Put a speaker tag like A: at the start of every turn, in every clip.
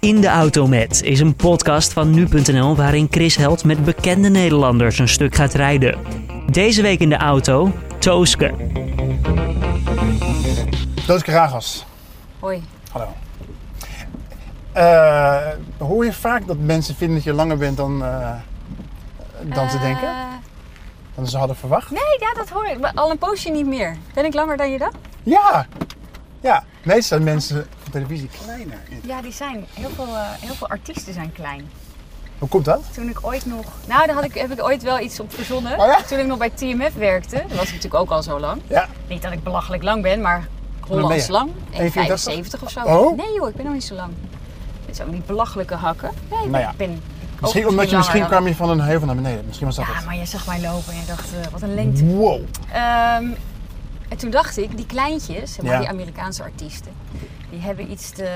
A: In de Auto Met is een podcast van nu.nl waarin Chris Held met bekende Nederlanders een stuk gaat rijden. Deze week in de auto, Tooske.
B: Tooske Ragas.
C: Hoi.
B: Hallo. Eh, hoor je vaak dat mensen vinden dat je langer bent dan, eh, dan ze
C: Eh,
B: denken? Dan ze hadden verwacht?
C: Nee, ja, dat hoor ik. Maar Al een poosje niet meer. Ben ik langer dan je dat?
B: Ja! Ja, meestal zijn mensen op televisie kleiner.
C: Ja, die zijn. Heel veel, eh, heel veel artiesten zijn klein.
B: Hoe komt dat?
C: Toen ik ooit nog. Nou, daar had ik, heb ik ooit wel iets op verzonnen.
B: Oh ja?
C: Toen ik nog bij TMF werkte. Dat was ik natuurlijk ook al zo lang.
B: Ja.
C: Niet dat ik belachelijk lang ben, maar Hollands
B: Hoe lang
C: lang.
B: ben je?
C: 1,75 of zo.
B: Oh.
C: Nee joh, ik ben nog niet zo lang. Dit zijn ook niet belachelijke hakken. Nee, maar
B: Nou ja.
C: ik ben.
B: Misschien
C: ook
B: omdat je misschien
C: langer dan-
B: kwam je van een heuvel naar beneden. Misschien was dat
C: Ja,
B: het.
C: maar je zag mij lopen en je dacht, eh, wat een lengte.
B: Wow.
C: Ehm, en toen dacht ik, die kleintjes, zeg maar
B: Ja.
C: die Amerikaanse artiesten, die hebben iets te eh,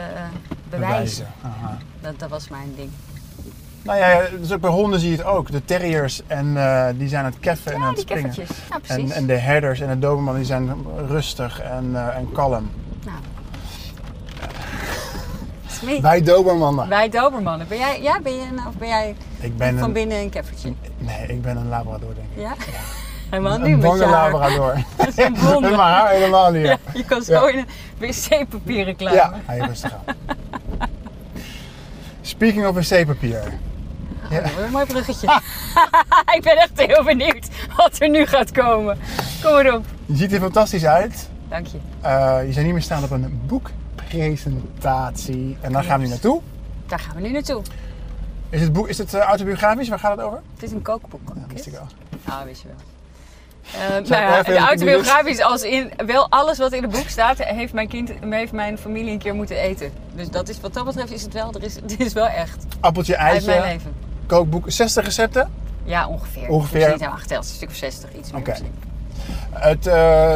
C: bewijzen.
B: Bewijzen. Aha.
C: Dat, dat was mijn ding.
B: Nou ja, dus ook bij honden zie je het ook. De terriers en, eh, die zijn aan het keffen en aan
C: ja,
B: het
C: die
B: springen.
C: keffertjes. Ja,
B: En,
C: precies.
B: en de herders en de doberman die zijn rustig en, eh, en kalm.
C: Nou. Smee-
B: Wij dobermannen.
C: Wij Dobermannen. Ben jij, ja, ben je, een- of ben jij
B: Ik ben
C: van
B: een,
C: binnen een keffertje?
B: Nee, ik ben een labrador denk ik.
C: Ja? Helemaal nu
B: Een
C: met je
B: bange
C: haar.
B: labrador.
C: een blonde.
B: Met mijn haar helemaal niet.
C: Ja,
B: Ja,
C: je kan
B: Ja.
C: zo in een wc-papier reclame.
B: ja. hij is rustig aan. Speaking of wc-papier.
C: Oh, dat wordt een mooi bruggetje. ik ben echt heel benieuwd wat er nu gaat komen. Kom maar op.
B: Je ziet er fantastisch uit.
C: Dank je.
B: Eh, je zou niet meer staan op een boekpresentatie. En daar gaan we nu naartoe.
C: Daar gaan we nu naartoe.
B: Is het, boek, is het eh, autobiografisch? Waar gaat het over?
C: Het is een kookboek.
B: Dat wist ik al.
C: Ah, wist je wel. Eh, nou
B: wel
C: ja,
B: even in
C: de
B: de
C: autobiografisch als in wel alles wat in het boek staat, heeft mijn, kind, heeft mijn familie een keer moeten eten. Dus dat is, wat dat betreft is het wel, er is, het is wel echt.
B: Appeltje,
C: Uit mijn
B: ijsje,
C: leven.
B: kookboek, 60 recepten.
C: Ja, ongeveer.
B: Ongeveer.
C: Ik nou heb niet helemaal geteld, een stuk of 60, iets meer.
B: Oké.
C: misschien.
B: Het, eh,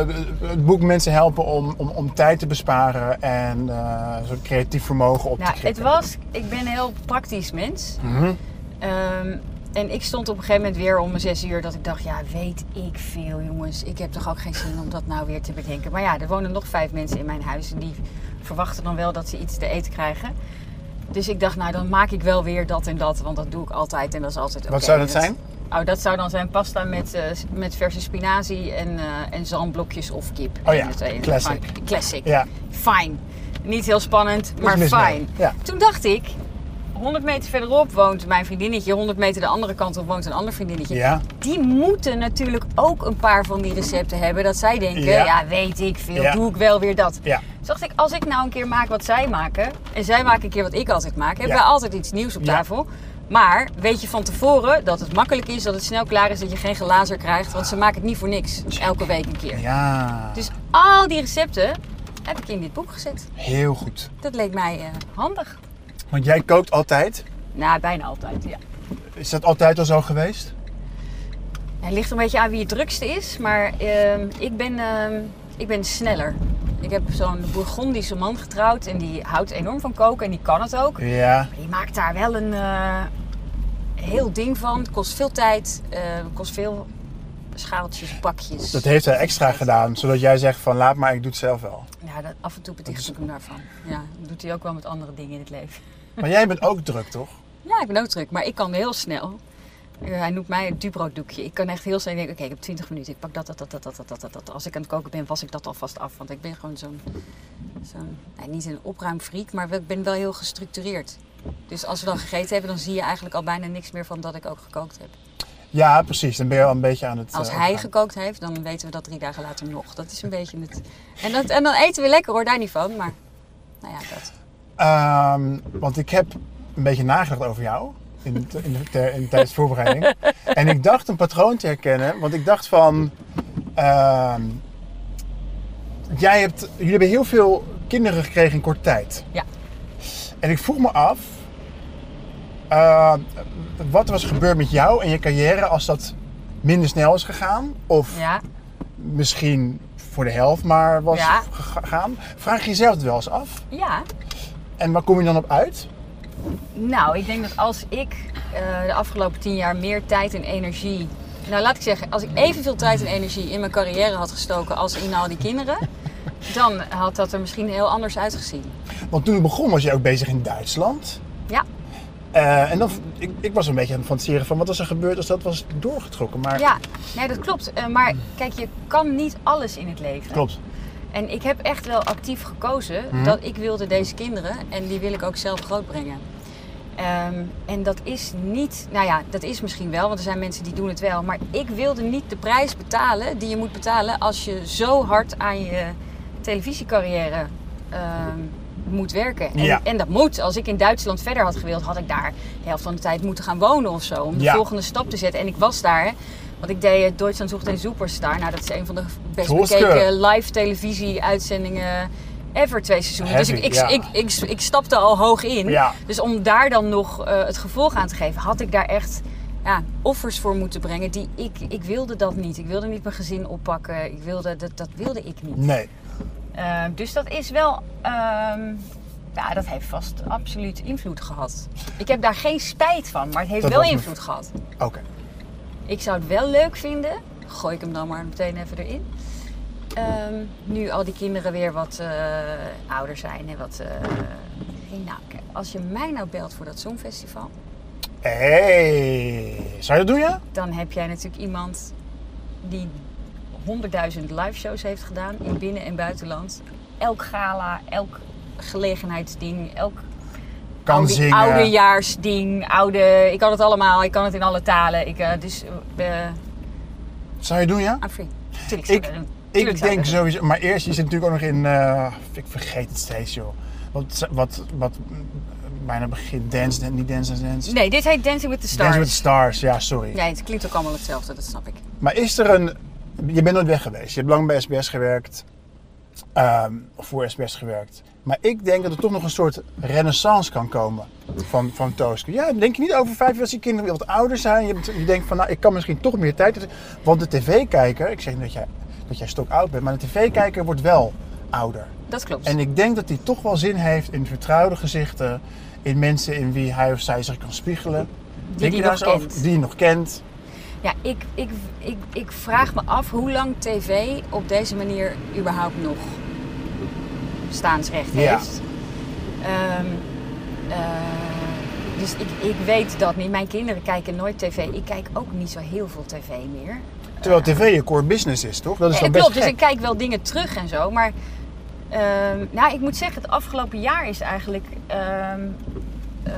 B: het boek mensen helpen om, om, om tijd te besparen en eh, een soort creatief vermogen op
C: Nou,
B: te
C: het
B: krikken.
C: was, ik ben een heel praktisch mens.
B: Mhm.
C: Ehm, en ik stond op een gegeven moment weer om mijn zes uur dat ik dacht, ja, weet ik veel, jongens. Ik heb toch ook geen zin om dat nou weer te bedenken. Maar ja, er wonen nog vijf mensen in mijn huis en die verwachten dan wel dat ze iets te eten krijgen. Dus ik dacht, nou, dan maak ik wel weer dat en dat, want dat doe ik altijd en dat is altijd oké.
B: Wat zou dat
C: En
B: zijn?
C: Oh, dat zou dan zijn pasta met, eh, s- met verse spinazie en, eh, en zalmblokjes of kip.
B: Oh ja,
C: En dat weet je,
B: classic.
C: fijn. Classic.
B: Ja.
C: Fijn. Niet heel spannend, maar
B: mis mee.
C: fijn.
B: Ja.
C: Toen dacht ik, 100 meter verderop woont mijn vriendinnetje, 100 meter de andere kant op woont een ander vriendinnetje.
B: Ja.
C: Die moeten natuurlijk ook een paar van die recepten hebben dat zij denken,
B: Ja.
C: ja, weet ik veel,
B: Ja.
C: doe ik wel weer dat.
B: Ja.
C: Dus dacht ik, als ik nou een keer maak wat zij maken en zij maken een keer wat ik altijd maak, hebben
B: Ja.
C: we altijd iets nieuws op
B: Ja.
C: tafel. Maar weet je van tevoren dat het makkelijk is, dat het snel klaar is, dat je geen glazer krijgt, want ze maken het niet voor niks dus elke week een keer.
B: Ja,
C: Dus al die recepten heb ik in dit boek gezet.
B: heel goed.
C: Dat leek mij eh, handig.
B: Want jij kookt altijd.
C: Nou, bijna altijd, ja.
B: Is dat altijd al zo geweest?
C: Het ligt een beetje aan wie het drukste is, maar ehm, ik, ben, ehm, ik ben sneller. Ik heb zo'n Bourgondische man getrouwd en die houdt enorm van koken en die kan het ook.
B: Ja.
C: Die maakt daar wel een eh, heel ding van. Het kost veel tijd, eh, het kost veel schaaltjes, bakjes.
B: Dat heeft hij extra gedaan, zodat jij zegt van laat maar, ik doe het zelf wel.
C: Ja, dat, af en toe beticht ik hem daarvan. Ja, dat doet hij ook wel met andere dingen in het leven.
B: Maar jij bent ook druk, toch?
C: Ja, ik ben ook druk, maar ik kan heel snel. Uh, hij noemt mij het Dubrodoekje. Ik kan echt heel snel denken, oké, ik heb 20 minuten. Ik pak dat, dat, dat, dat, dat, dat, dat, dat. Als ik aan het koken ben, was ik dat alvast af. Want ik ben gewoon zo'n, zo'n nou, niet een opruimfreak, maar wel- ik ben wel heel gestructureerd. Dus als we dan gegeten hebben, dan zie je eigenlijk al bijna niks meer van dat ik ook gekookt heb.
B: Ja, precies. Dan ben je al een beetje aan het.
C: Als
B: eh,
C: hij
B: opgaan.
C: gekookt heeft, dan weten we dat drie dagen later nog. Dat is een beetje het... En, dat, en dan eten we lekker hoor, daar niet van. Maar, nou ja, dat.
B: Ehm, want ik heb een beetje nagedacht over jou in, in, ter- in- tijdens de voorbereiding. en ik dacht een patroon te herkennen, want ik dacht van. ehm, jij hebt, jullie hebben heel veel kinderen gekregen in korte tijd.
C: Ja.
B: En ik vroeg me af. eh, wat was gebeurd met jou en je carrière als dat minder snel is gegaan? Of
C: Ja,
B: misschien voor de helft maar was
C: Ja.
B: gegaan? Vraag je jezelf het wel eens af?
C: ja.
B: En waar kom je dan op uit?
C: Nou, ik denk dat als ik eh, de afgelopen tien jaar meer tijd en energie. Nou, laat ik zeggen, als ik evenveel tijd en energie in mijn carrière had gestoken als in al die kinderen, dan had dat er misschien heel anders uitgezien.
B: Want toen ik begon was je ook bezig in Duitsland.
C: Ja,
B: Eh, en dan, ik, ik was een beetje aan het fantaseren van wat was er gebeurd als dat was doorgetrokken. Maar
C: ja. Nee, dat klopt. Eh, maar kijk, je kan niet alles in het leven.
B: klopt.
C: En ik heb echt wel actief gekozen
B: Mhm.
C: dat ik wilde deze kinderen en die wil ik ook zelf grootbrengen. Ehm, en dat is niet, nou ja, dat is misschien wel, want er zijn mensen die doen het wel. Maar ik wilde niet de prijs betalen die je moet betalen als je zo hard aan je televisiecarrière ehm, moet werken. En,
B: Ja.
C: en dat moet. Als ik in Duitsland verder had gewild, had ik daar de helft van de tijd moeten gaan wonen of zo. Om de
B: Ja.
C: volgende stap te zetten. En ik was daar, want ik deed eh, Duitsland zocht een superstar. Nou, dat is een van de best
B: Troske.
C: bekeken live televisie-uitzendingen ever twee seizoenen. dus
B: Heavy,
C: ik, ik,
B: ja.
C: ik, ik, ik stapte al hoog in.
B: Ja.
C: Dus om daar dan nog eh, het gevolg aan te geven, had ik daar echt ja, offers voor moeten brengen. Die ik, ik wilde dat niet. Ik wilde niet mijn gezin oppakken. Ik wilde, dat, dat wilde ik niet.
B: Nee.
C: Eh, dus dat is wel. ehm, ja, dat heeft vast absoluut invloed gehad. Ik heb daar geen spijt van, maar het heeft
B: Dat
C: wel
B: was mijn-
C: invloed gehad.
B: Oké.
C: Ik zou het wel leuk vinden. Gooi ik hem dan maar meteen even erin. Ehm, nu al die kinderen weer wat eh, ouder zijn en wat. eh, hey, nou, kijk, als je mij nou belt voor dat Songfestival,
B: Hey. Zou je dat doen, ja?
C: dan heb jij natuurlijk iemand die 100.000 live shows heeft gedaan in binnen- en buitenland. Elk gala, elk gelegenheidsding, elk
B: Kan
C: oude,
B: zingen.
C: oudejaarsding, oude. Ik kan het allemaal, ik kan het in alle talen. Ik, eh, dus eh
B: Zou je doen, ja?
C: I'm free. Tuurlijk, zou
B: Ik,
C: ik dat doen. Tuurlijk
B: ik
C: zou
B: denk
C: ik dat doen.
B: sowieso. Maar eerst, je zit natuurlijk ook nog in. eh, ik vergeet het steeds, joh. Wat, wat, wat mm, bijna begint. Dance, dance, niet dance, dance, dance.
C: Nee, dit heet Dancing with the Stars.
B: Dance with the Stars, ja, sorry.
C: Nee, het klinkt ook allemaal hetzelfde, dat snap ik.
B: Maar is er een. Je bent nooit weg geweest. Je hebt lang bij SBS gewerkt. ehm, of voor SBS gewerkt. Maar ik denk dat er toch nog een soort renaissance kan komen van, van Tooske. Ja, denk je niet over vijf jaar als die kinderen weer wat ouder zijn? Je, hebt- je denkt van, nou, ik kan misschien toch meer tijd. Want de tv-kijker, ik zeg niet dat jij, dat jij stokoud bent, maar de tv-kijker wordt wel ouder.
C: Dat klopt.
B: En ik denk dat hij toch wel zin heeft in vertrouwde gezichten. In mensen in wie hij of zij zich kan spiegelen. Denk
C: die
B: je daar
C: nog
B: eens over?
C: kent.
B: Die je nog kent.
C: Ja, ik, ik, ik, ik vraag me af hoe lang tv op deze manier überhaupt nog staansrecht
B: Ja.
C: heeft. Ehm, eh, dus ik, ik weet dat niet. Mijn kinderen kijken nooit tv. Ik kijk ook niet zo heel veel tv meer.
B: Terwijl tv je core business is, toch? Dat is
C: Ja,
B: wel
C: dat
B: best
C: klopt, dus
B: gek.
C: ik kijk wel dingen terug en zo. Maar ehm, nou, ik moet zeggen, het afgelopen jaar is eigenlijk... ehm, eh,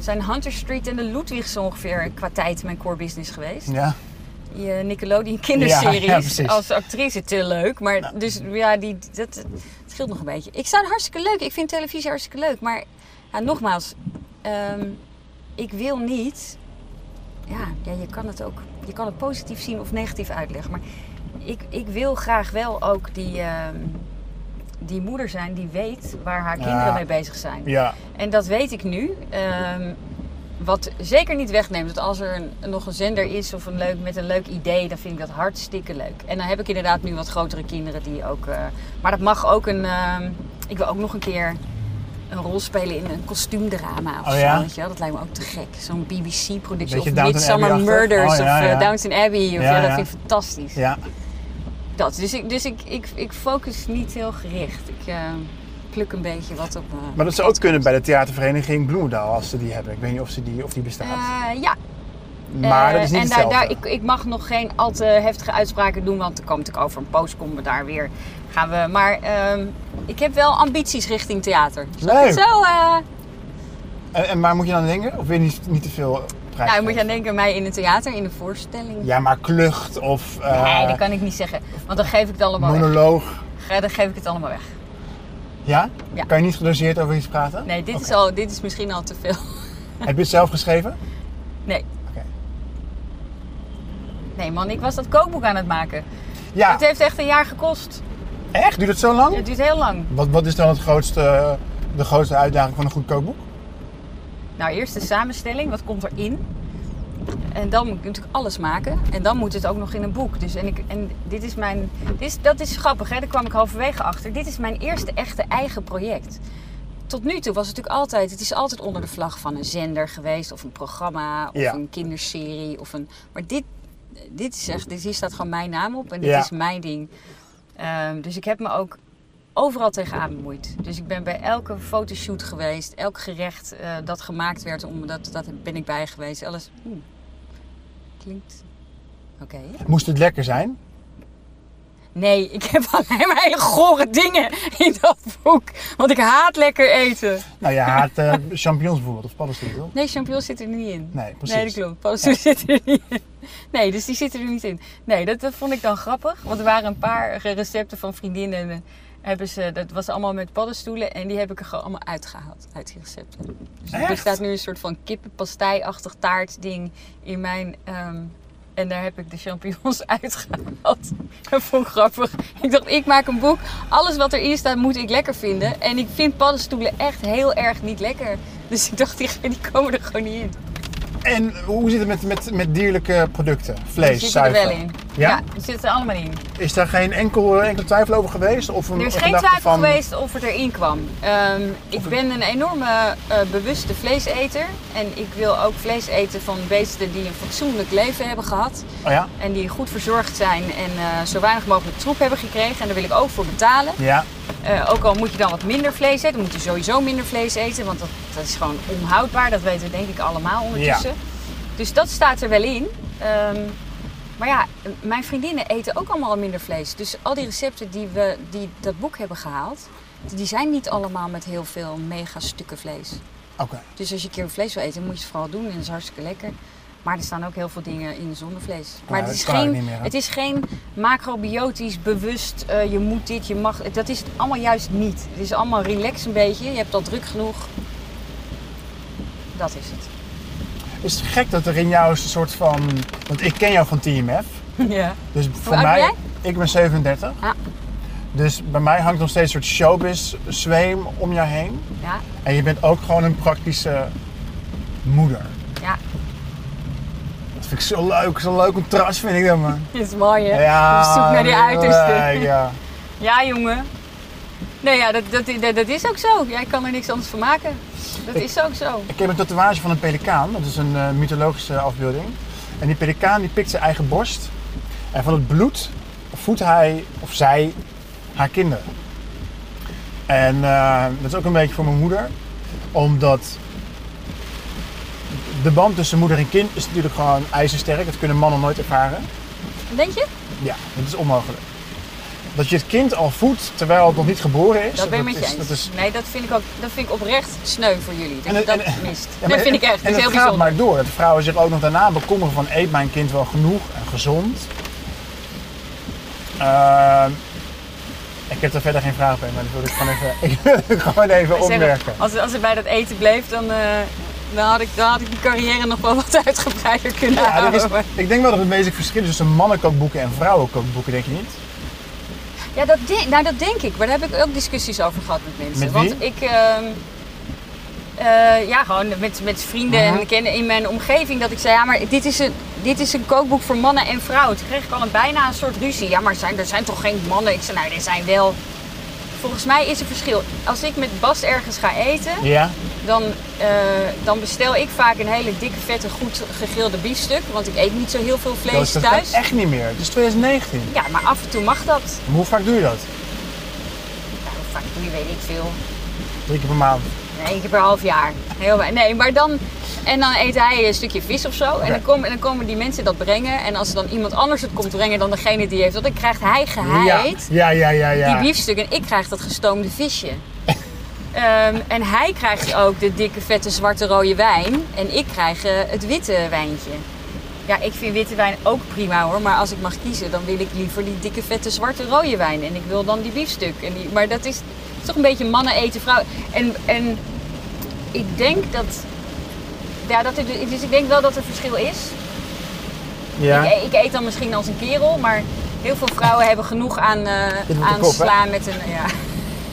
C: zijn Hunter Street en de Ludwigs ongeveer qua tijd mijn core business geweest.
B: Ja.
C: Je Nickelodeon kinderseries
B: Ja, ja, precies. Nou.
C: als actrice te leuk. Maar dus ja, die, dat, het scheelt nog een beetje. Ik zou het hartstikke leuk. Ik vind televisie hartstikke leuk. Maar ja, nogmaals, ehm, ik wil niet. Ja, ja, je kan het ook. Je kan het positief zien of negatief uitleggen. Maar ik, ik wil graag wel ook die, ehm, die moeder zijn die weet waar haar
B: Ja.
C: kinderen mee bezig zijn.
B: ja,
C: En dat weet ik nu. Ehm, wat zeker niet wegneemt dat als er een, nog een zender is of een leuk, met een leuk idee, dan vind ik dat hartstikke leuk. En dan heb ik inderdaad nu wat grotere kinderen die ook. eh, maar dat mag ook een. ehm, ik wil ook nog een keer een rol spelen in een kostuumdrama of
B: Oh
C: zo.
B: ja?
C: Weet je wel? Dat lijkt me ook te gek. Zo'n BBC-productie of
B: Beetje Downton
C: Midsummer
B: Abbey-achtig.
C: Murders
B: Oh ja,
C: of eh,
B: ja.
C: Downton Abbey. Of, ja,
B: Ja,
C: dat
B: ja.
C: vind ik fantastisch.
B: ja.
C: Dat. Dus, ik, dus ik, ik, ik focus niet heel gericht. Ik eh, pluk een beetje wat op. eh,
B: Maar dat zou ook kunnen bij de theatervereniging Bloemendaal, als ze die hebben. Ik weet niet of, ze die, of die bestaat.
C: eh, ja,
B: maar dat is niet
C: Eh, en daar,
B: hetzelfde.
C: daar, ik, ik mag nog geen al te heftige uitspraken doen, want er komt natuurlijk over een poos komen we daar weer. Gaan we, maar ehm, ik heb wel ambities richting theater. Snap je
B: Leuk.
C: het Zo, eh
B: en, en waar moet je dan aan denken? Of wil je niet, niet te veel prijs
C: nou, dan moet je aan
B: geven?
C: denken, mij in het theater, in een voorstelling.
B: Ja, maar klucht of eh,
C: nee, dat kan ik niet zeggen, want dan geef ik het allemaal weg.
B: monoloog.
C: Ja, Dan geef ik het allemaal weg.
B: Ja?
C: Ja.
B: Kan je niet gedoseerd over iets praten?
C: Nee, dit, is,
B: Oké.
C: al, dit is misschien al te veel.
B: Heb je het zelf geschreven?
C: Nee.
B: Oké.
C: Nee man, ik was dat kookboek aan het maken.
B: Ja, Oh.
C: Het heeft echt een jaar gekost.
B: echt? Duurt het zo lang?
C: Het duurt heel lang.
B: Wat, wat is dan het grootste, de grootste uitdaging van een goed kookboek?
C: Nou, eerst de samenstelling, wat komt erin? En dan moet ik natuurlijk alles maken. En dan moet het ook nog in een boek. Dus en, ik, en dit is mijn. Dit is, dat is grappig, hè? daar kwam ik halverwege achter. Dit is mijn eerste echte eigen project. Tot nu toe was het natuurlijk altijd. Het is altijd onder de vlag van een zender geweest, of een programma, of
B: Ja.
C: een kinderserie. Of een, maar dit, dit is echt. Dit, hier staat gewoon mijn naam op en dit
B: Ja.
C: is mijn ding. Ehm, dus ik heb me ook overal tegenaan bemoeid. Dus ik ben bij elke fotoshoot geweest, elk gerecht eh, dat gemaakt werd, om, dat, dat ben ik bij geweest. Alles. oeh, klinkt. Oké.
B: Moest het lekker zijn?
C: Nee, ik heb alleen maar hele gore dingen in dat boek. Want ik haat lekker eten.
B: Nou, je haat eh, champignons bijvoorbeeld of paddenstoelen, toch?
C: Nee, champignons zitten er niet in.
B: Nee, precies.
C: Nee, dat klopt. Paddenstoelen zitten er niet in. Nee, dus die zitten er niet in. Nee, dat, dat vond ik dan grappig. Want er waren een paar eh, recepten van vriendinnen. en, eh, Hebben ze, dat was allemaal met paddenstoelen. En die heb ik er gewoon allemaal uitgehaald. Uit die recepten. Dus er
B: Echt?
C: staat nu een soort van kippenpastei-achtig taartding in mijn... ehm, en daar heb ik de champignons uitgehaald. Dat vond ik grappig. Ik dacht, ik maak een boek. Alles wat erin staat moet ik lekker vinden. En ik vind paddenstoelen echt heel erg niet lekker. Dus ik dacht, die, die komen er gewoon niet in.
B: En hoe zit het met, met, met dierlijke producten? Vlees,
C: Die zitten er
B: zuivel?
C: wel in.
B: Ja?
C: die zitten er allemaal in.
B: Is daar geen enkel, enkel twijfel over geweest? Of een
C: Er is
B: een
C: geen
B: gedachte
C: twijfel
B: van,
C: geweest of het erin kwam. Ehm, ik
B: het-
C: ben een enorme eh, bewuste vleeseter. En ik wil ook vlees eten van beesten die een fatsoenlijk leven hebben gehad.
B: Oh ja?
C: En die goed verzorgd zijn en eh, zo weinig mogelijk troep hebben gekregen. En daar wil ik ook voor betalen.
B: Ja.
C: Eh, ook al moet je dan wat minder vlees eten, moet je sowieso minder vlees eten, want dat, dat is gewoon onhoudbaar. Dat weten we denk ik allemaal ondertussen. Dus dat staat er wel in. Ehm, maar ja, mijn vriendinnen eten ook allemaal minder vlees. Dus al die recepten die we die dat boek hebben gehaald, die zijn niet allemaal met heel veel mega stukken vlees.
B: Oké.
C: Dus als je een keer vlees wil eten, moet je het vooral doen en dat is hartstikke lekker. Maar er staan ook heel veel dingen in zonder vlees.
B: Nou,
C: Maar
B: dat
C: het, is
B: kan ook
C: geen,
B: niet meer, hè?
C: het is geen macrobiotisch bewust, eh, je moet dit, je mag... Dat is het allemaal juist niet. Het is allemaal relax een beetje, je hebt al druk genoeg. Dat is het.
B: Is het gek dat er in jou een soort van... Want ik ken jou van TMF.
C: Ja.
B: Dus voor
C: oud ben
B: mij...
C: jij?
B: Ik ben 37.
C: Ah.
B: Dus bij mij hangt nog steeds een soort showbiz-zweem om jou heen.
C: Ja,
B: En je bent ook gewoon een praktische moeder.
C: ja.
B: Dat vind ik zo leuk. Zo'n leuk contrast vind ik dat, man.
C: Dat is mooi hè?
B: Ja,
C: Op zoek naar die uiterste.
B: leuk, ja.
C: Ja, jongen. Nee, ja, dat, dat, dat, dat is ook zo. Jij kan er niks anders van maken. Dat
B: Ik-
C: is ook zo.
B: Ik heb een tatoeage van een pelikaan. Dat is een eh, mythologische afbeelding. En die pelikaan die pikt zijn eigen borst. En van het bloed voedt hij of zij haar kinderen. En eh, dat is ook een beetje voor mijn moeder. Omdat de band tussen moeder en kind is natuurlijk gewoon ijzersterk. Dat kunnen mannen nooit ervaren.
C: Denk je?
B: Ja, dat is onmogelijk. Dat je het kind al voedt terwijl het nog niet geboren is.
C: Dat ben ik met je
B: is- dat
C: eens.
B: is
C: Nee, dat vind ik ook. Dat vind ik oprecht sneu voor jullie. Dat
B: En-
C: je dat
B: en-
C: mist.
B: Ja, maar-
C: dat vind ik echt.
B: En
C: Dat is heel
B: het gaat
C: bijzonder.
B: maar door. Dat vrouwen zich ook nog daarna bekommeren van eet mijn kind wel genoeg en gezond. Ehm, ik heb er verder geen vraag bij, maar dat wil ik gewoon even, ik wil het gewoon even
C: Als het-
B: opmerken.
C: Als, het- als het bij dat eten bleef, dan, eh, dan, had ik, dan had ik die carrière nog wel wat uitgebreider kunnen
B: Ja, er
C: houden.
B: is,
C: maar-
B: ik denk wel dat het meeste verschil is tussen mannenkookboeken en vrouwenkookboeken, denk je niet?
C: Ja, dat, de- nou, dat denk ik. Maar daar heb ik ook discussies over gehad met mensen.
B: Met wie?
C: Want ik. ehm, eh, ja, gewoon met, met vrienden
B: Mhm.
C: en kennen in mijn omgeving. Dat ik zei, ja, maar dit is een, dit is een kookboek voor mannen en vrouwen. Toen kreeg ik al een bijna een soort ruzie. Ja, maar zijn, er zijn toch geen mannen? Ik zei, nou, er zijn wel. Volgens mij is er verschil. Als ik met Bas ergens ga eten,
B: Ja,
C: dan, eh, dan bestel ik vaak een hele dikke, vette, goed gegrilde biefstuk. Want ik eet niet zo heel veel
B: dat
C: vlees
B: is dat
C: thuis.
B: kan echt niet meer. Het is 2019.
C: Ja, maar af en toe mag dat.
B: Maar hoe vaak doe je dat?
C: Nou, vaak doe je weet ik veel.
B: Drie keer per maand.
C: Nee, één keer per half jaar. Heel wei- Nee, maar dan. En dan eet hij een stukje vis of zo. En, dan komen, en dan komen die mensen dat brengen. En als dan iemand anders het komt brengen dan degene die heeft dat, dan krijgt hij
B: ja.
C: geheid
B: ja, ja, ja, ja.
C: die biefstuk. En ik krijg dat gestoomde visje. Ehm, en hij krijgt ook de dikke, vette, zwarte, rode wijn. En ik krijg eh, het witte wijntje. Ja, ik vind witte wijn ook prima hoor. Maar als ik mag kiezen, dan wil ik liever die dikke, vette, zwarte, rode wijn. En ik wil dan die biefstuk. En die, maar dat is toch een beetje mannen eten, vrouwen. En, en ik denk dat... Ja, dat er, dus ik denk wel dat er verschil is.
B: ja.
C: Ik, ik eet dan misschien als een kerel, maar heel veel vrouwen hebben genoeg aan,
B: Dit
C: eh
B: wordt
C: aan
B: de kop, hè?
C: slaan met een. Ja.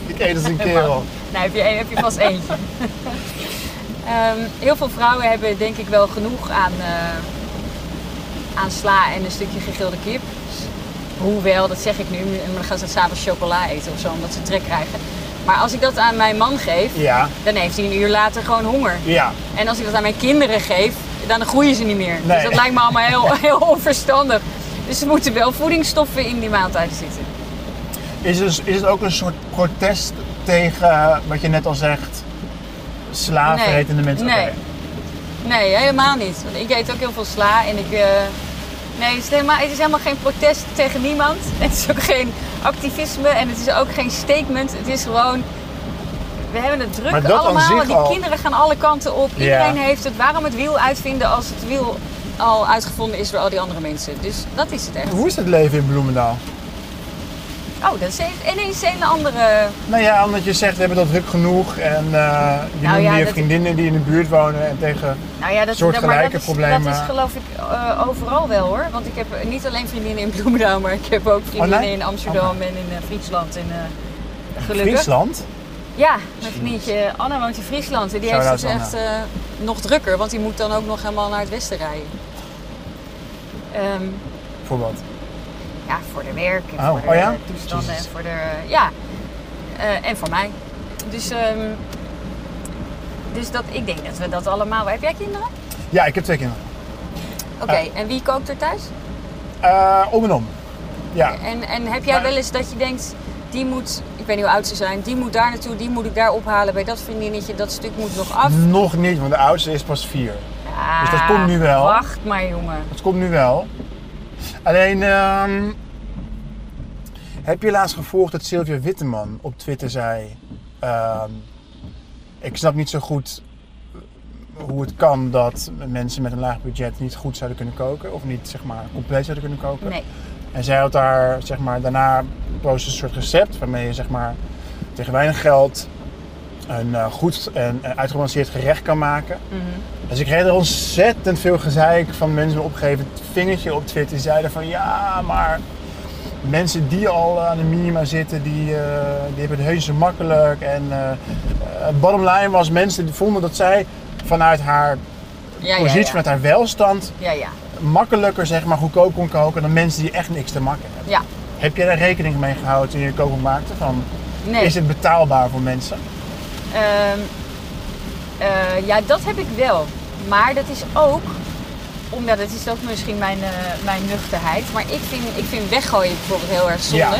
B: Ik eet als een kerel.
C: Nou, heb je, heb je vast eentje. Ehm, heel veel vrouwen hebben denk ik wel genoeg aan, eh, aan sla en een stukje gegrilde kip. Hoewel, dat zeg ik nu, maar dan gaan ze s'avonds chocola eten of zo, omdat ze trek krijgen. Maar als ik dat aan mijn man geef,
B: Ja,
C: dan heeft hij een uur later gewoon honger.
B: ja.
C: En als ik dat aan mijn kinderen geef, dan groeien ze niet meer.
B: Nee.
C: Dus dat lijkt me allemaal heel, heel onverstandig. Dus er moeten wel voedingsstoffen in die maaltijden zitten.
B: Is, dus, is het ook een soort protest tegen eh, wat je net al zegt, slaafretende
C: Nee.
B: mensen?
C: Nee.
B: Oké.
C: Nee, helemaal niet. Want ik eet ook heel veel sla en ik. eh, nee, het is, helemaal, het is helemaal geen protest tegen niemand. Het is ook geen activisme en het is ook geen statement. Het is gewoon. We hebben het druk
B: Maar dat aan
C: allemaal.
B: zich
C: want die
B: al.
C: kinderen gaan alle kanten op.
B: Ja.
C: Iedereen heeft het. Waarom het wiel uitvinden als het wiel al uitgevonden is door al die andere mensen? Dus dat is het echt.
B: Hoe is het leven in Bloemendaal?
C: Oh, dat is een- ineens een hele andere.
B: Nou ja, omdat je zegt, we hebben dat druk genoeg en eh, je
C: Nou
B: noemde
C: ja,
B: je
C: dat-
B: vriendinnen die in de buurt wonen en tegen...
C: Nou ja, dat,
B: Soortgelijke
C: maar dat is,
B: problemen.
C: Dat is geloof ik eh, overal wel hoor. Want ik heb eh, niet alleen vriendinnen in Bloemendaal, maar ik heb ook vriendinnen
B: nee?
C: in Amsterdam en in eh, Friesland. En, eh, gelukkig.
B: Friesland?
C: Ja, mijn vriendje Anna woont in Friesland. En die heeft
B: Shout-out
C: het echt eh, nog drukker, want die moet dan ook nog helemaal naar het westen rijden. Ehm,
B: Bijvoorbeeld.
C: ja, voor de werk en
B: Oh,
C: voor de
B: oh ja?
C: toestanden
B: Jezus.
C: en voor de... Ja, Eh, en voor mij. Dus, ehm, dus dat, ik denk dat we dat allemaal... Heb jij kinderen?
B: Ja, ik heb twee kinderen.
C: Oké, en wie kookt er thuis?
B: Eh, om en om. Ja.
C: En, en heb jij
B: Maar-
C: wel eens dat je denkt, die moet, ik weet niet hoe oud ze zijn, die moet daar naartoe, die moet ik daar ophalen bij dat vriendinnetje, dat stuk moet nog af.
B: Nog niet, want de oudste is pas vier. Hmm. dus dat
C: Ah,
B: komt nu wel.
C: Wacht maar jongen.
B: Het komt nu wel. Alleen, ehm, heb je laatst gevolgd dat Sylvia Witteman op Twitter zei... ehm, ik snap niet zo goed hoe het kan dat mensen met een laag budget niet goed zouden kunnen koken. Of niet, zeg maar, compleet zouden kunnen koken.
C: Nee.
B: En zij had daar, zeg maar, daarna post een soort recept waarmee je, zeg maar, tegen weinig geld een eh, goed en eh, uitgebalanceerd gerecht kan maken.
C: Mhm.
B: Dus ik kreeg er ontzettend veel gezeik van mensen met opgegeven vingertje op Twitter. Die zeiden van, ja, maar mensen die al aan de minima zitten, die, eh, die hebben het heus zo makkelijk. En eh, eh, bottom line was, mensen die vonden dat zij vanuit haar
C: Ah, Ja, ja,
B: positie,
C: ja.
B: vanuit haar welstand,
C: Ja, ja.
B: makkelijker, zeg maar, goedkoop kon koken dan mensen die echt niks te makken hebben.
C: Ja.
B: Heb je daar rekening mee gehouden toen je koken maakte? Van,
C: Nee.
B: Is het betaalbaar voor mensen?
C: Ehm, eh, ja, dat heb ik wel. Maar dat is ook, omdat dat is ook misschien mijn, eh, mijn nuchterheid. Maar ik vind, ik vind weggooien bijvoorbeeld heel erg zonde.
B: Ja.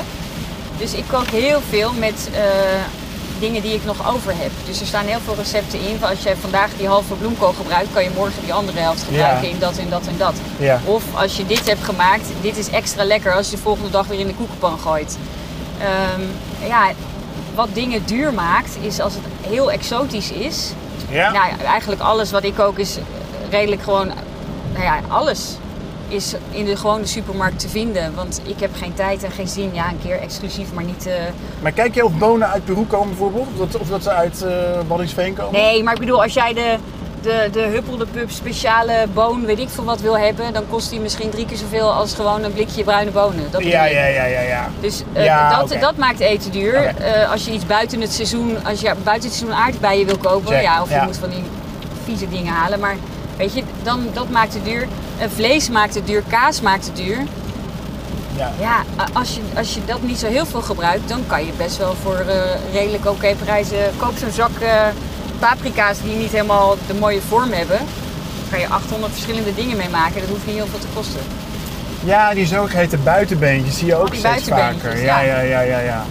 C: Dus ik kook heel veel met eh, dingen die ik nog over heb. Dus er staan heel veel recepten in. Van als je vandaag die halve bloemkool gebruikt, kan je morgen die andere helft gebruiken
B: Ja.
C: in dat en dat en dat.
B: Ja.
C: Of als je dit hebt gemaakt, dit is extra lekker als je de volgende dag weer in de koekenpan gooit. Ehm, ja, wat dingen duur maakt, is als het heel exotisch is.
B: Ja.
C: Nou, ja, eigenlijk alles wat ik ook is redelijk gewoon. Nou ja, alles is in de gewone supermarkt te vinden. Want ik heb geen tijd en geen zin. Ja, een keer exclusief, maar niet. eh,
B: Maar kijk je of bonen uit Peru komen bijvoorbeeld? Of dat, of dat ze uit eh Waddinxveen komen?
C: Nee, maar ik bedoel, als jij de, de, de huppelde pub speciale boon, weet ik veel wat wil hebben, dan kost die misschien drie keer zoveel als gewoon een blikje bruine bonen. Dat bedoel
B: Ja,
C: ik.
B: ja, ja, ja, ja.
C: Dus eh,
B: Ja,
C: dat,
B: oké.
C: dat maakt eten duur.
B: Oké.
C: Eh, als je iets buiten het seizoen, als je buiten het seizoen aardbeien wil kopen,
B: Check,
C: ja, of je
B: ja.
C: moet van die vieze dingen halen. Maar weet je, dan, dat maakt het duur. Eh, vlees maakt het duur, kaas maakt het duur.
B: ja.
C: Ja, a- als je, als je dat niet zo heel veel gebruikt, dan kan je best wel voor eh, redelijk oké prijzen. Koop zo'n zak eh, paprika's die niet helemaal de mooie vorm hebben. Daar kan je 800 verschillende dingen mee maken. Dat hoeft niet heel veel te kosten.
B: Ja, die zogeheten buitenbeentjes zie je ook
C: Oh, Die
B: steeds
C: buitenbeentjes,
B: vaker. Ja,
C: ja.
B: ja, ja, ja, ja.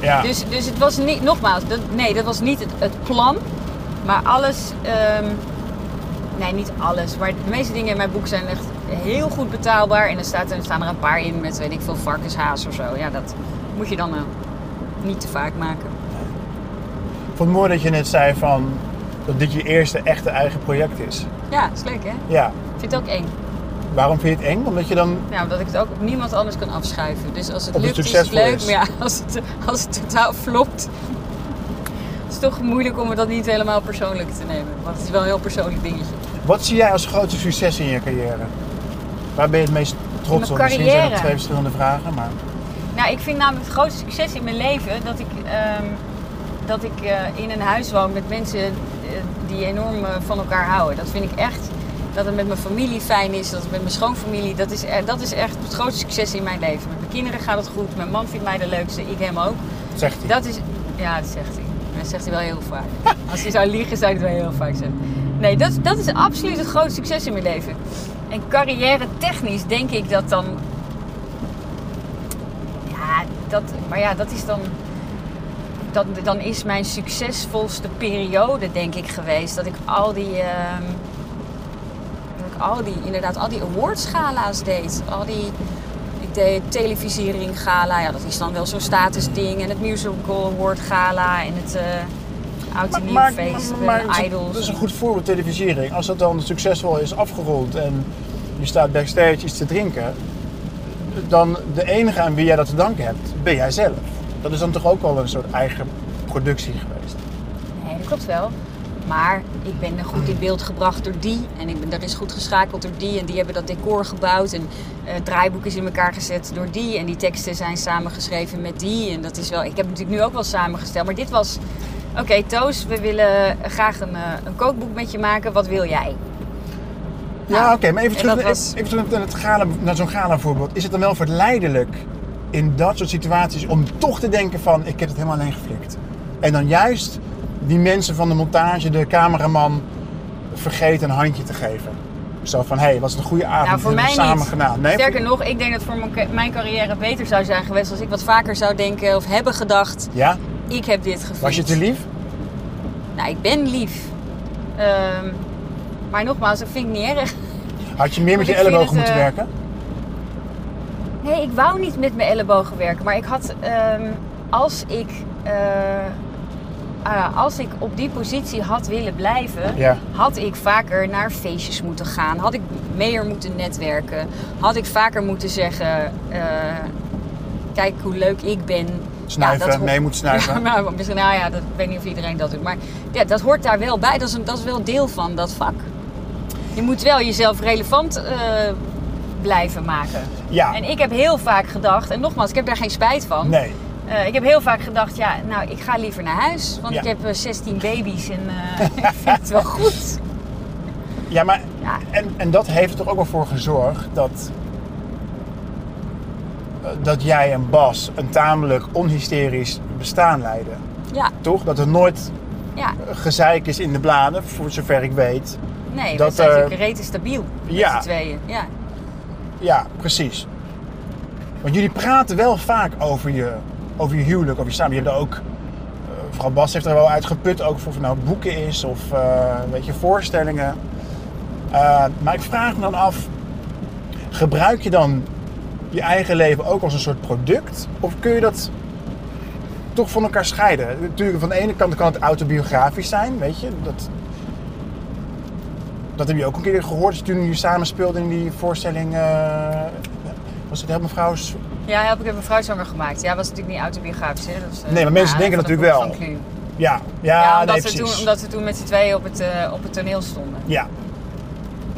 B: Ja,
C: Dus, dus het was niet, nogmaals, dat, nee, dat was niet het, het plan. Maar alles, ehm, nee, niet alles. Maar de meeste dingen in mijn boek zijn echt heel goed betaalbaar. En er, staat, er staan er een paar in met, weet ik veel, varkenshaas of zo. Ja, dat moet je dan eh, niet te vaak maken.
B: ik vond het mooi dat je net zei van dat dit je eerste echte eigen project is.
C: Ja, is leuk hè?
B: Ja.
C: Ik vind het ook eng.
B: Waarom vind je het eng? Omdat je dan...
C: Nou, omdat ik het ook op niemand anders kan afschuiven. Dus als het
B: Of het
C: lukt, is het
B: succesvol
C: leuk.
B: is.
C: Maar ja, als het, als het totaal flopt, is het toch moeilijk om het dat niet helemaal persoonlijk te nemen. Want het is wel een heel persoonlijk dingetje.
B: Wat zie jij als grootste succes in je carrière? Waar ben je het meest trots
C: Mijn
B: op? Misschien zijn dat
C: carrière.
B: twee verschillende vragen, maar...
C: Nou, ik vind namelijk het grootste succes in mijn leven dat ik, ehm, dat ik eh, in een huis woon met mensen eh, die enorm eh, van elkaar houden. Dat vind ik echt. Dat het met mijn familie fijn is, dat het met mijn schoonfamilie. Dat is, eh, dat is echt het grootste succes in mijn leven. Met mijn kinderen gaat het goed, mijn man vindt mij de leukste, ik hem ook.
B: Zegt hij.
C: Dat is. Ja, dat zegt hij. Maar Dat zegt hij wel heel vaak. Als hij zou liegen, zou hij het wel heel vaak zeggen. Nee, dat, dat is absoluut het grootste succes in mijn leven. En carrière technisch denk ik dat dan. Ja, dat, maar ja, dat is dan, dat, dan is mijn succesvolste periode, denk ik, geweest. Dat ik al die, ehm, dat ik al die, inderdaad, al die awardsgala's deed. Al die, ik deed televisiering gala, ja, dat is dan wel zo'n statusding. En het musical award gala en het eh oud en nieuw feest, en idols.
B: dat is een goed voorbeeld televisiering. Als dat dan succesvol is afgerond en je staat backstage iets te drinken, dan de enige aan wie jij dat te danken hebt, ben jij zelf. Dat is dan toch ook al een soort eigen productie geweest.
C: Nee, dat klopt wel. Maar ik ben er goed in beeld gebracht door die. En ik ben, er is goed geschakeld door die. En die hebben dat decor gebouwd. En eh, het draaiboek is in elkaar gezet door die. En die teksten zijn samengeschreven met die. En dat is wel... Ik heb het natuurlijk nu ook wel samengesteld. Maar dit was... Oké, Toos, we willen graag een, eh, een kookboek met je maken. Wat wil jij?
B: Ja,
C: Nou,
B: oké, maar even
C: en
B: terug,
C: dat was-
B: even terug naar, het gala, naar zo'n gala voorbeeld. Is het dan wel verleidelijk in dat soort situaties om toch te denken van ik heb het helemaal alleen geflikt. En dan juist die mensen van de montage, de cameraman, vergeten een handje te geven. Zo van, hé, hey, was het een goede avond,
C: Nou, voor
B: Ah, hebben
C: mij
B: we samen
C: niet.
B: gedaan. Nee,
C: Sterker nog, ik denk dat voor mijn ca- mijn carrière beter zou zijn geweest... als ik wat vaker zou denken of hebben gedacht...
B: Ja?
C: Ik heb dit gevoeld.
B: Was je te lief?
C: Nou, ik ben lief. Ehm, maar nogmaals, dat vind ik niet erg.
B: Had je meer met je
C: ik vind
B: ellebogen
C: het,
B: moeten
C: eh,
B: werken?
C: Nee, ik wou niet met mijn ellebogen werken. Maar ik had, ehm, als ik, eh, ah, als ik op die positie had willen blijven,
B: Ja.
C: had ik vaker naar feestjes moeten gaan. Had ik meer moeten netwerken. Had ik vaker moeten zeggen, eh, kijk hoe leuk ik ben.
B: Snuiven,
C: ho-
B: mee moeten snuiven.
C: Ja, maar misschien, nou ja, dat, ik weet niet of iedereen dat doet. Maar ja, dat hoort daar wel bij. Dat is, een, dat is wel deel van dat vak. Je moet wel jezelf relevant eh, blijven maken.
B: Ja.
C: En ik heb heel vaak gedacht, en nogmaals, ik heb daar geen spijt van.
B: Nee.
C: Eh, ik heb heel vaak gedacht, ja, nou, ik ga liever naar huis. Want
B: Ja.
C: ik heb eh, 16 baby's en eh, ik vind het wel goed.
B: Ja, maar
C: Ja.
B: en, en dat heeft er toch ook wel voor gezorgd dat, eh, dat jij en Bas een tamelijk onhysterisch bestaan leiden.
C: Ja,
B: Toch? Dat er nooit
C: ja.
B: gezeik is in de bladen, voor zover ik weet.
C: Nee,
B: Dat,
C: we zijn
B: eh,
C: natuurlijk rete stabiel met
B: ja.
C: z'n tweeën. Ja.
B: Ja, precies. Want jullie praten wel vaak over je, over je huwelijk, over je samen. Je hebt er ook, eh, vooral Bas heeft er wel uitgeput, ook of het nou boeken is of eh, weet je, voorstellingen. Eh, maar ik vraag me dan af, gebruik je dan je eigen leven ook als een soort product? Of kun je dat toch van elkaar scheiden? Natuurlijk, van de ene kant kan het autobiografisch zijn, weet je. Dat, dat heb je ook een keer gehoord toen jullie samen speelden in die voorstelling. eh, was het helemaal mevrouw? S-
C: ja, help ik heb een vrouw zwanger gemaakt. Ja, was natuurlijk niet autobiografisch. Hè? Dat is, eh,
B: Nee, maar mensen denken
C: dat
B: natuurlijk
C: komt
B: wel.
C: van Clue.
B: Ja,
C: Ja,
B: ja,
C: omdat,
B: nee,
C: we
B: precies.
C: toen, omdat we toen met z'n tweeën op het, eh, op het toneel stonden.
B: Ja,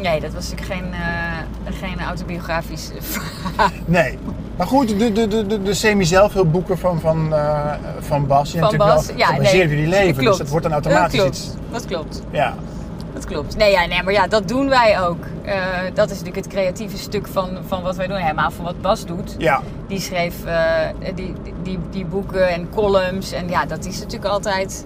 C: Nee, dat was natuurlijk geen, eh, geen autobiografisch verhaal.
B: nee. Maar goed, de, de, de, de, de semi-zelfhulpboeken van, van, eh, van Bas. Die
C: Van
B: natuurlijk
C: Bas.
B: wel
C: Ja,
B: gebaseerd
C: nee.
B: op jullie leven.
C: klopt.
B: Dus dat wordt dan automatisch
C: dat klopt.
B: iets.
C: Dat klopt.
B: Ja.
C: Dat klopt. Nee, ja, nee, maar ja, dat doen wij ook. Eh, dat is natuurlijk het creatieve stuk van, van wat wij doen. Helemaal van wat Bas doet.
B: ja,
C: Die schreef eh, die, die, die boeken en columns. En ja, dat is natuurlijk altijd...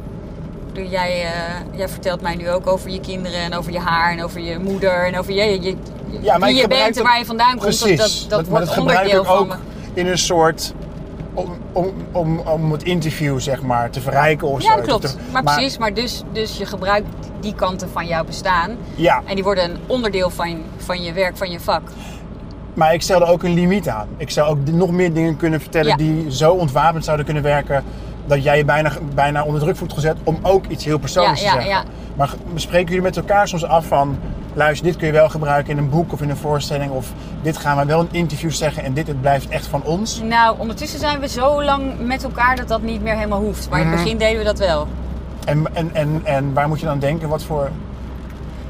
C: Ik bedoel, Jij, eh, jij vertelt mij nu ook over je kinderen en over je haar en over je moeder en over je, je, je-
B: ja maar
C: wie
B: ik
C: je
B: gebruik
C: bent en
B: dat-
C: waar je vandaan komt.
B: Precies.
C: Dat, dat, dat
B: maar
C: wordt
B: dat gebruik
C: onderdeel
B: ik
C: van
B: ook
C: me.
B: in een soort... Om, om, om, om het interview, zeg maar, te verrijken of
C: Ja,
B: zo.
C: dat klopt.
B: Te-
C: Maar, precies, maar dus, dus je gebruikt die kanten van jouw bestaan.
B: Ja,
C: En die worden een onderdeel van, van je werk, van je vak.
B: Maar ik stelde ook een limiet aan. Ik zou ook nog meer dingen kunnen vertellen
C: Ja.
B: die zo ontwapend zouden kunnen werken. dat jij je bijna, bijna onder druk voelt gezet om ook iets heel persoonlijks
C: Ja,
B: te
C: ja,
B: zeggen. Maar g- spreken jullie met elkaar soms af van. luister, dit kun je wel gebruiken in een boek of in een voorstelling. of dit gaan we wel in interviews zeggen en dit het blijft echt van ons?
C: Nou, ondertussen zijn we zo lang met elkaar dat dat niet meer helemaal hoeft. Maar in
B: Mhm.
C: het begin deden we dat wel.
B: En, en, en, en waar moet je dan denken? Wat voor.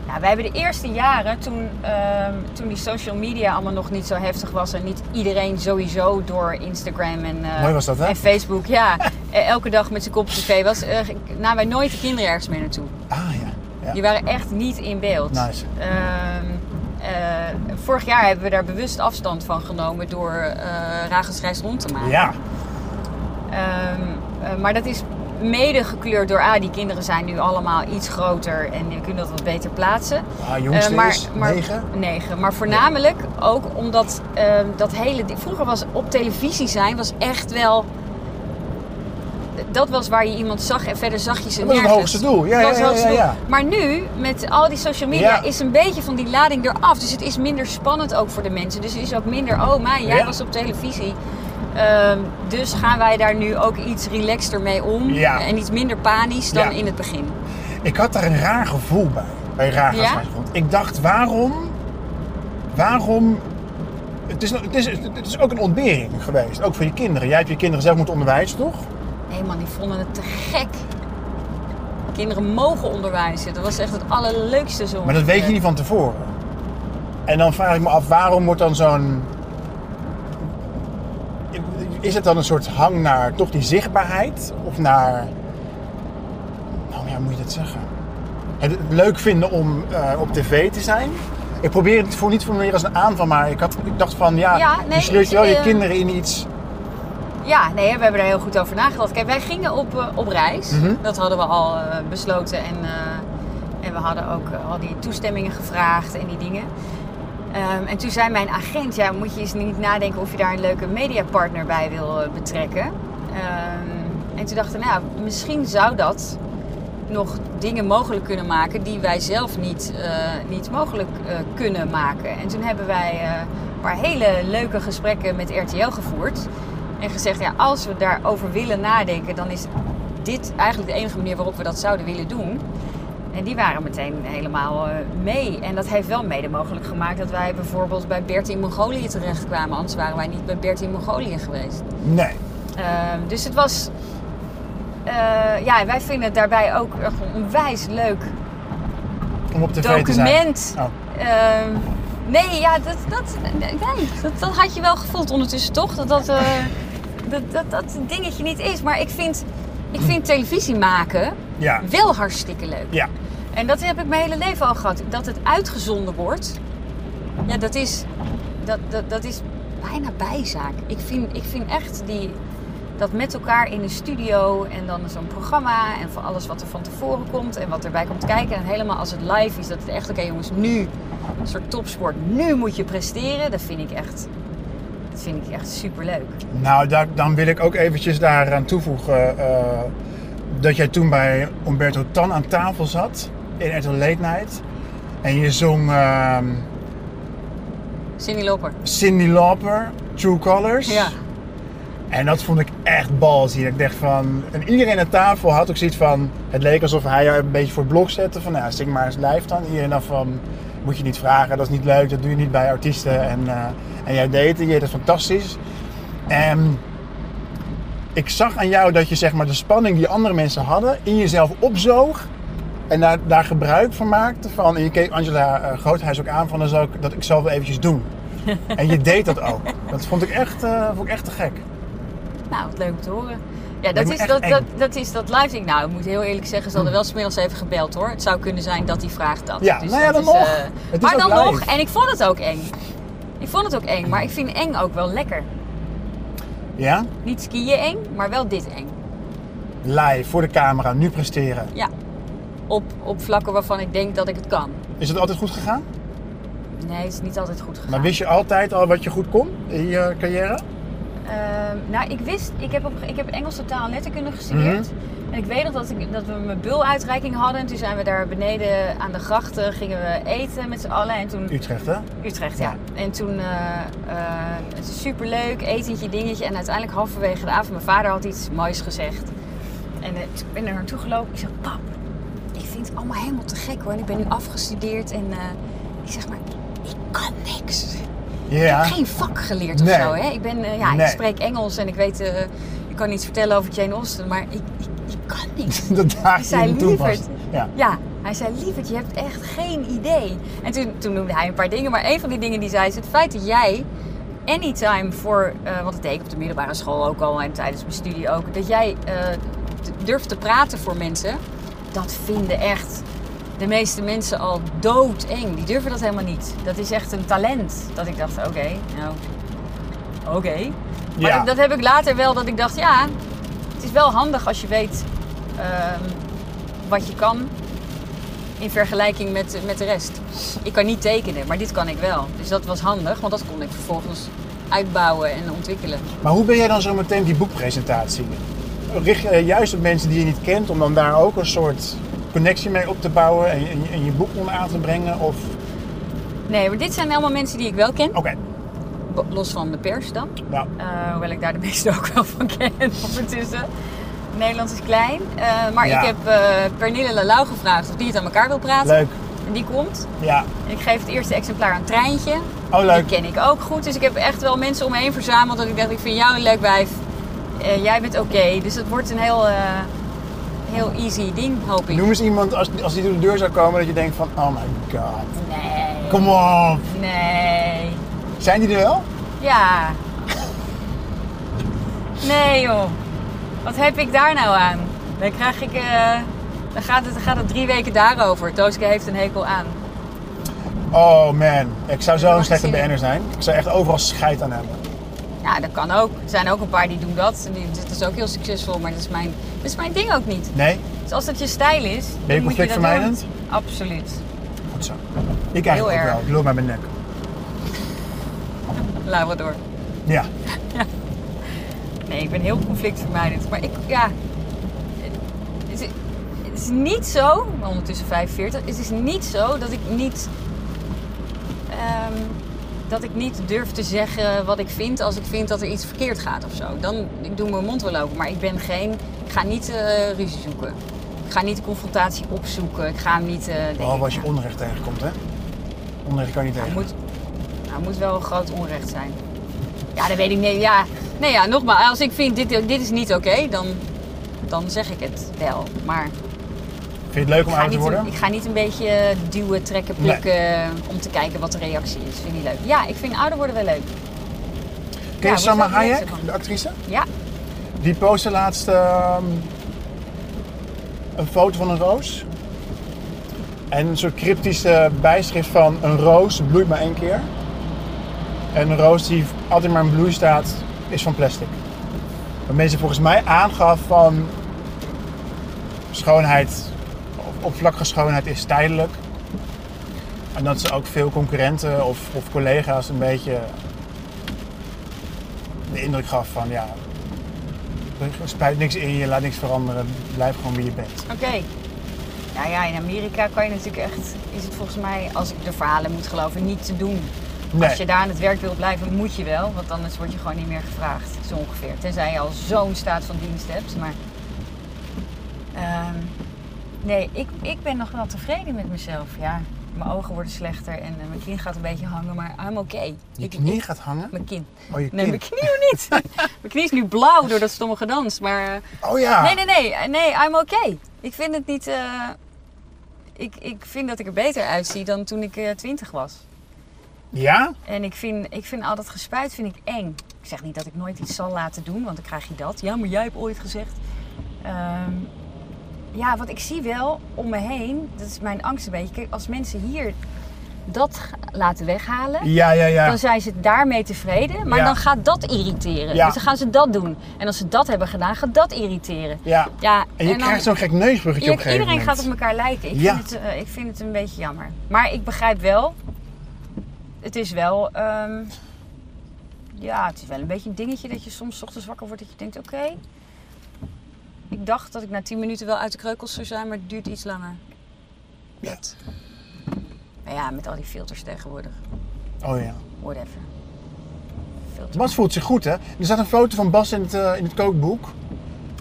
C: Nou, wij hebben de eerste jaren, toen, ehm, toen die social media allemaal nog niet zo heftig was... en niet iedereen sowieso door Instagram en, eh,
B: Mooi was dat, hè?
C: en Facebook... ja, eh, elke dag met zijn kop op tv was... eh, namen wij nooit de kinderen ergens meer naartoe.
B: Ah ja. ja.
C: Die waren echt niet in beeld.
B: Nice.
C: Ehm, eh, vorig jaar hebben we daar bewust afstand van genomen door eh Ragens Reis rond te maken.
B: Ja,
C: Ehm, eh, maar dat is mede gekleurd door, ah, die kinderen zijn nu allemaal iets groter en die kunnen dat wat beter plaatsen.
B: Ah, jongste
C: Eh, maar-
B: is
C: maar-
B: negen.
C: Negen. Maar voornamelijk ook omdat eh, dat hele. Vroeger was op televisie zijn was echt wel. Dat was waar je iemand zag en verder zag je ze
B: Dat was het
C: nergens.
B: hoogste doel. Ja,
C: Dat
B: ja,
C: was het
B: ja,
C: hoogste
B: ja,
C: doel.
B: ja.
C: Maar nu, met al die social media,
B: Ja.
C: is een beetje van die lading eraf. Dus het is minder spannend ook voor de mensen. Dus het is ook minder, oh mij, jij
B: Ja.
C: was op televisie. Ehm, dus gaan wij daar nu ook iets relaxter mee om.
B: Ja.
C: En iets minder panisch dan
B: Ja.
C: in het begin.
B: Ik had daar een raar gevoel bij. Bij raar
C: Ja?
B: grond. Ik dacht, waarom? Waarom? Het is, het, is, het is ook een ontbering geweest. Ook voor je kinderen. Jij hebt je kinderen zelf moeten onderwijzen, toch?
C: Nee man, die vonden het te gek. Kinderen mogen onderwijzen. Dat was echt het allerleukste zo.
B: Maar dat weet je niet van tevoren. En dan vraag ik me af, waarom wordt dan zo'n... Is het dan een soort hang naar toch die zichtbaarheid? Of naar... Nou ja, hoe moet je dat zeggen? Het leuk vinden om eh, op tv te zijn? Ik probeer het voor niet voor meer als een aanval, maar ik, had, ik dacht van ja,
C: Ja, nee,
B: je sleurt
C: ik,
B: wel je
C: eh,
B: kinderen in iets.
C: Ja, nee, we hebben er heel goed over nagedacht. Kijk, wij gingen op, eh, op reis.
B: Mhm.
C: Dat hadden we al eh, besloten. En, eh, en we hadden ook eh, al die toestemmingen gevraagd en die dingen. Ehm, en toen zei mijn agent, ja, moet je eens niet nadenken of je daar een leuke mediapartner bij wil eh, betrekken. Ehm, en toen dachten we, nou, ja, misschien zou dat nog dingen mogelijk kunnen maken die wij zelf niet, eh, niet mogelijk eh, kunnen maken. En toen hebben wij eh, een paar hele leuke gesprekken met RTL gevoerd. En gezegd, ja, als we daarover willen nadenken, dan is dit eigenlijk de enige manier waarop we dat zouden willen doen. En die waren meteen helemaal eh, mee. En dat heeft wel mede mogelijk gemaakt dat wij bijvoorbeeld bij Bert in Mongolië terechtkwamen. Anders waren wij niet bij Bert in Mongolië geweest.
B: Nee.
C: Ehm, dus het was. eh, ja, en wij vinden het daarbij ook echt een onwijs leuk
B: Om op tv te zijn.
C: document.
B: Oh.
C: Ehm, nee, ja, dat, dat, nee, dat, dat had je wel gevoeld ondertussen toch? Dat dat, eh, dat, dat dat dingetje niet is. Maar ik vind, ik vind televisie maken
B: Ja.
C: wel hartstikke leuk.
B: Ja.
C: En dat heb ik mijn hele leven al gehad. Dat het uitgezonden wordt, ja, dat is, dat, dat, dat is bijna bijzaak. Ik vind, ik vind echt die, dat met elkaar in de studio en dan zo'n programma en van alles wat er van tevoren komt en wat erbij komt kijken. En helemaal als het live is, dat het echt, oké jongens, nu, een soort topsport, nu moet je presteren. Dat vind ik echt, dat vind ik echt superleuk.
B: Nou, daar, dan wil ik ook eventjes daaraan toevoegen eh, dat jij toen bij Umberto Tan aan tafel zat in RTL Late Night. En je zong ehm,
C: Cindy Loper.
B: Cindy Lauper, True Colors.
C: Ja.
B: En dat vond ik echt balzie. Ik dacht van, en iedereen aan tafel had ook zoiets van, het leek alsof hij jou een beetje voor het blok zette. Van, nou, zing maar eens live dan. Iedereen dacht van, moet je niet vragen, dat is niet leuk, dat doe je niet bij artiesten. En, eh, en jij deed het, en je deed het fantastisch. En ik zag aan jou dat je zeg maar de spanning die andere mensen hadden, in jezelf opzoog. En daar, daar gebruik van maakte van, en je keek Angela eh, Groothuis ook aan van, dan zal ik, dat ik zal wel eventjes doen. En je deed dat ook. Dat vond ik echt, eh, vond ik echt te gek.
C: Nou, wat leuk om te horen. Ja,
B: Lijkt
C: dat
B: me
C: is
B: echt
C: dat,
B: eng.
C: dat, dat is dat live ding. Nou, ik moet heel eerlijk zeggen, ze hadden wel smiddags even gebeld hoor. Het zou kunnen zijn dat die vraagt dat.
B: Ja, nou ja,
C: dat
B: dan
C: is,
B: nog.
C: eh,
B: Het is
C: maar
B: ook
C: dan
B: live.
C: nog, en ik vond het ook eng. Ik vond het ook eng, maar ik vind eng ook wel lekker.
B: Ja?
C: Niet skiën eng, maar wel dit eng.
B: Live, voor de camera, nu presteren.
C: Ja. Op, op vlakken waarvan ik denk dat ik het kan.
B: Is het altijd goed gegaan?
C: Nee, het is niet altijd goed gegaan.
B: Maar wist je altijd al wat je goed kon in je carrière?
C: Ehm, nou, ik wist, ik heb, op, ik heb Engels totaal letterkunde gestudeerd. En ik weet nog dat, ik, dat we mijn buluitreiking hadden. En toen zijn we daar beneden aan de grachten, gingen we eten met z'n allen. En toen
B: Utrecht, hè?
C: Utrecht, ja. En toen, eh eh, het is superleuk, etentje, dingetje. En uiteindelijk halverwege de avond, mijn vader had iets moois gezegd. En eh, toen ben ik er naartoe gelopen. Ik zeg, pap, ik vind het allemaal helemaal te gek hoor. En ik ben nu afgestudeerd en eh, ik zeg maar, ik kan niks. Ik
B: Ja.
C: heb geen vak geleerd of
B: Nee.
C: zo. Hè? Ik, ben, eh, ja,
B: Nee.
C: ik spreek Engels en ik weet, eh, ik kan iets vertellen over Jane Austen, maar ik, ik, ik kan niks.
B: Dat daag je
C: Zij
B: hem toe
C: lieverd.
B: vast. Ja.
C: Ja, hij zei, lieverd, je hebt echt geen idee. En toen, toen noemde hij een paar dingen, maar een van die dingen die zei is het feit dat jij anytime voor, eh want dat deed ik op de middelbare school ook al en tijdens mijn studie ook, dat jij eh, d- durft te praten voor mensen, dat vinden echt de meeste mensen al doodeng. Die durven dat helemaal niet. Dat is echt een talent. Dat ik dacht, oké, nou, oké. Maar
B: Ja.
C: dat, dat heb ik later wel, dat ik dacht, ja, het is wel handig als je weet ehm, wat je kan in vergelijking met, met de rest. Ik kan niet tekenen, maar dit kan ik wel. Dus dat was handig, want dat kon ik vervolgens uitbouwen en ontwikkelen.
B: Maar hoe ben jij dan zo meteen die boekpresentatie? Richt je eh, juist op mensen die je niet kent, om dan daar ook een soort connectie mee op te bouwen en, en, en je boek onder aan te brengen? Of...
C: Nee, maar dit zijn allemaal mensen die ik wel ken.
B: Oké,
C: Bo- Los van de pers dan.
B: nou,
C: Eh, hoewel ik daar de meeste ook wel van ken ondertussen. Nederland is klein. Eh, maar
B: Ja.
C: ik heb eh Pernille Lalau gevraagd of die het aan elkaar wil praten.
B: leuk.
C: En die komt.
B: Ja,
C: En ik geef het eerste exemplaar aan Treintje.
B: oh leuk.
C: Die ken ik ook goed. Dus ik heb echt wel mensen om me heen verzameld. Dat ik dacht, ik vind jou een leuk wijf. Eh, jij bent oké. Dus het wordt een heel, eh, heel easy ding, hoop ik.
B: Noem eens iemand, als, als die door de deur zou komen, dat je denkt van, oh my god,
C: Nee.
B: kom op.
C: Nee.
B: Zijn die er wel?
C: Ja. Nee joh. Wat heb ik daar nou aan? Dan krijg ik... eh, dan, gaat het, dan gaat het drie weken daarover. Tooske heeft een hekel aan.
B: Oh man, ik zou zo'n
C: Mag
B: slechte
C: ik zien?
B: BN'er zijn. Ik zou echt overal scheid aan hebben.
C: Ja, dat kan ook. Er zijn ook een paar die doen dat. En die- Dat is ook heel succesvol, maar dat is mijn, dat is mijn ding ook niet.
B: Nee?
C: Dus als dat je stijl is, dan
B: Ben je
C: moet je dat
B: conflictvermijdend?
C: doen. Absoluut.
B: Goed zo. Ik eigenlijk
C: Heel
B: ook
C: erg.
B: wel, ik loop met mijn nek.
C: Labrador.
B: Ja,
C: Nee, ik ben heel conflictvermijdend. Maar ik, ja... Het is, het is niet zo, ik ben ondertussen 45, het is niet zo dat ik niet... ehm, dat ik niet durf te zeggen wat ik vind als ik vind dat er iets verkeerd gaat of zo. Dan ik doe mijn mond wel open, maar ik ben geen... Ik ga niet eh, ruzie zoeken. Ik ga niet de confrontatie opzoeken. Ik ga hem niet... eh denken,
B: behalve als je
C: nou,
B: onrecht tegenkomt hè. Onrecht kan je niet
C: Het
B: tegen.
C: moet, nou, het moet wel een groot onrecht zijn. Ja, dat weet ik niet. Ja, nee, ja, nogmaals, als ik vind dit, dit is niet oké, dan, dan zeg ik het wel. Maar
B: Vind je het leuk om
C: ik ga,
B: ouder te
C: niet,
B: worden?
C: een- ik ga niet een beetje eh, duwen, trekken,
B: Nee.
C: plukken eh, om te kijken wat de reactie is. Vind ik niet leuk. Ja, ik vind ouder worden wel leuk.
B: Ken
C: Ja,
B: je Salma
C: wordt wel
B: Hayek,
C: leuk, zeg maar.
B: de actrice?
C: Ja,
B: Die postte laatst ehm, een foto van een roos. En een soort cryptische bijschrift van een roos bloeit maar één keer. En een roos die altijd maar in bloei staat, is van plastic. Waarmee ze volgens mij aangaf van schoonheid, op- oppervlakkige schoonheid is tijdelijk. En dat ze ook veel concurrenten of, of collega's een beetje de indruk gaf van ja, er spuit niks in je, laat niks veranderen, blijf gewoon wie je bent.
C: oké. Nou ja, in Amerika kan je natuurlijk echt, is het volgens mij, als ik de verhalen moet geloven, niet te doen. Als je daar aan het werk wil blijven, moet je wel, want anders word je gewoon niet meer gevraagd, zo ongeveer. Tenzij je al zo'n staat van dienst hebt, maar... Ehm, nee, ik, ik ben nog wel tevreden met mezelf, ja. Mijn ogen worden slechter en eh, mijn kin gaat een beetje hangen, maar I'm oké.
B: je
C: Ik-
B: knie
C: ik-
B: gaat hangen.
C: Mijn kin.
B: Oh, je
C: Nee,
B: kin.
C: mijn knie nog niet. mijn knie is nu blauw door dat stomme gedans, maar... eh,
B: Oh ja.
C: Nee, nee, nee. Eh, Nee, I'm okay. Ik vind het niet... eh, ik, ik vind dat ik er beter uitzie dan toen ik eh, twintig was.
B: Ja?
C: En ik vind, ik vind al dat gespuit vind ik eng. Ik zeg niet dat ik nooit iets zal laten doen, want dan krijg je dat. Ja, maar jij hebt ooit gezegd. Ehm, ja, want ik zie wel om me heen, dat is mijn angst een beetje. Kijk, als mensen hier dat g- laten weghalen,
B: Ja, ja, ja.
C: dan zijn ze daarmee tevreden. Maar
B: Ja.
C: dan gaat dat irriteren.
B: Ja.
C: Dus dan gaan ze dat doen. En als ze dat hebben gedaan, gaat dat irriteren.
B: ja.
C: Ja,
B: En je
C: dan-
B: krijgt zo'n gek neusbruggetje op een gegeven
C: iedereen
B: moment.
C: gaat op elkaar lijken. Ik,
B: Ja.
C: vind het, eh, ik vind het een beetje jammer. Maar ik begrijp wel. Het is wel. ehm, ja, het is wel een beetje een dingetje dat je soms 's ochtends wakker wordt dat je denkt: oké. ik dacht dat ik na 10 minuten wel uit de kreukels zou zijn, maar het duurt iets langer.
B: Ja.
C: Dat. Maar ja, met al die filters tegenwoordig.
B: Oh ja.
C: Whatever. Filter.
B: Bas voelt zich goed, hè? Er staat een foto van Bas in het, eh, in het kookboek.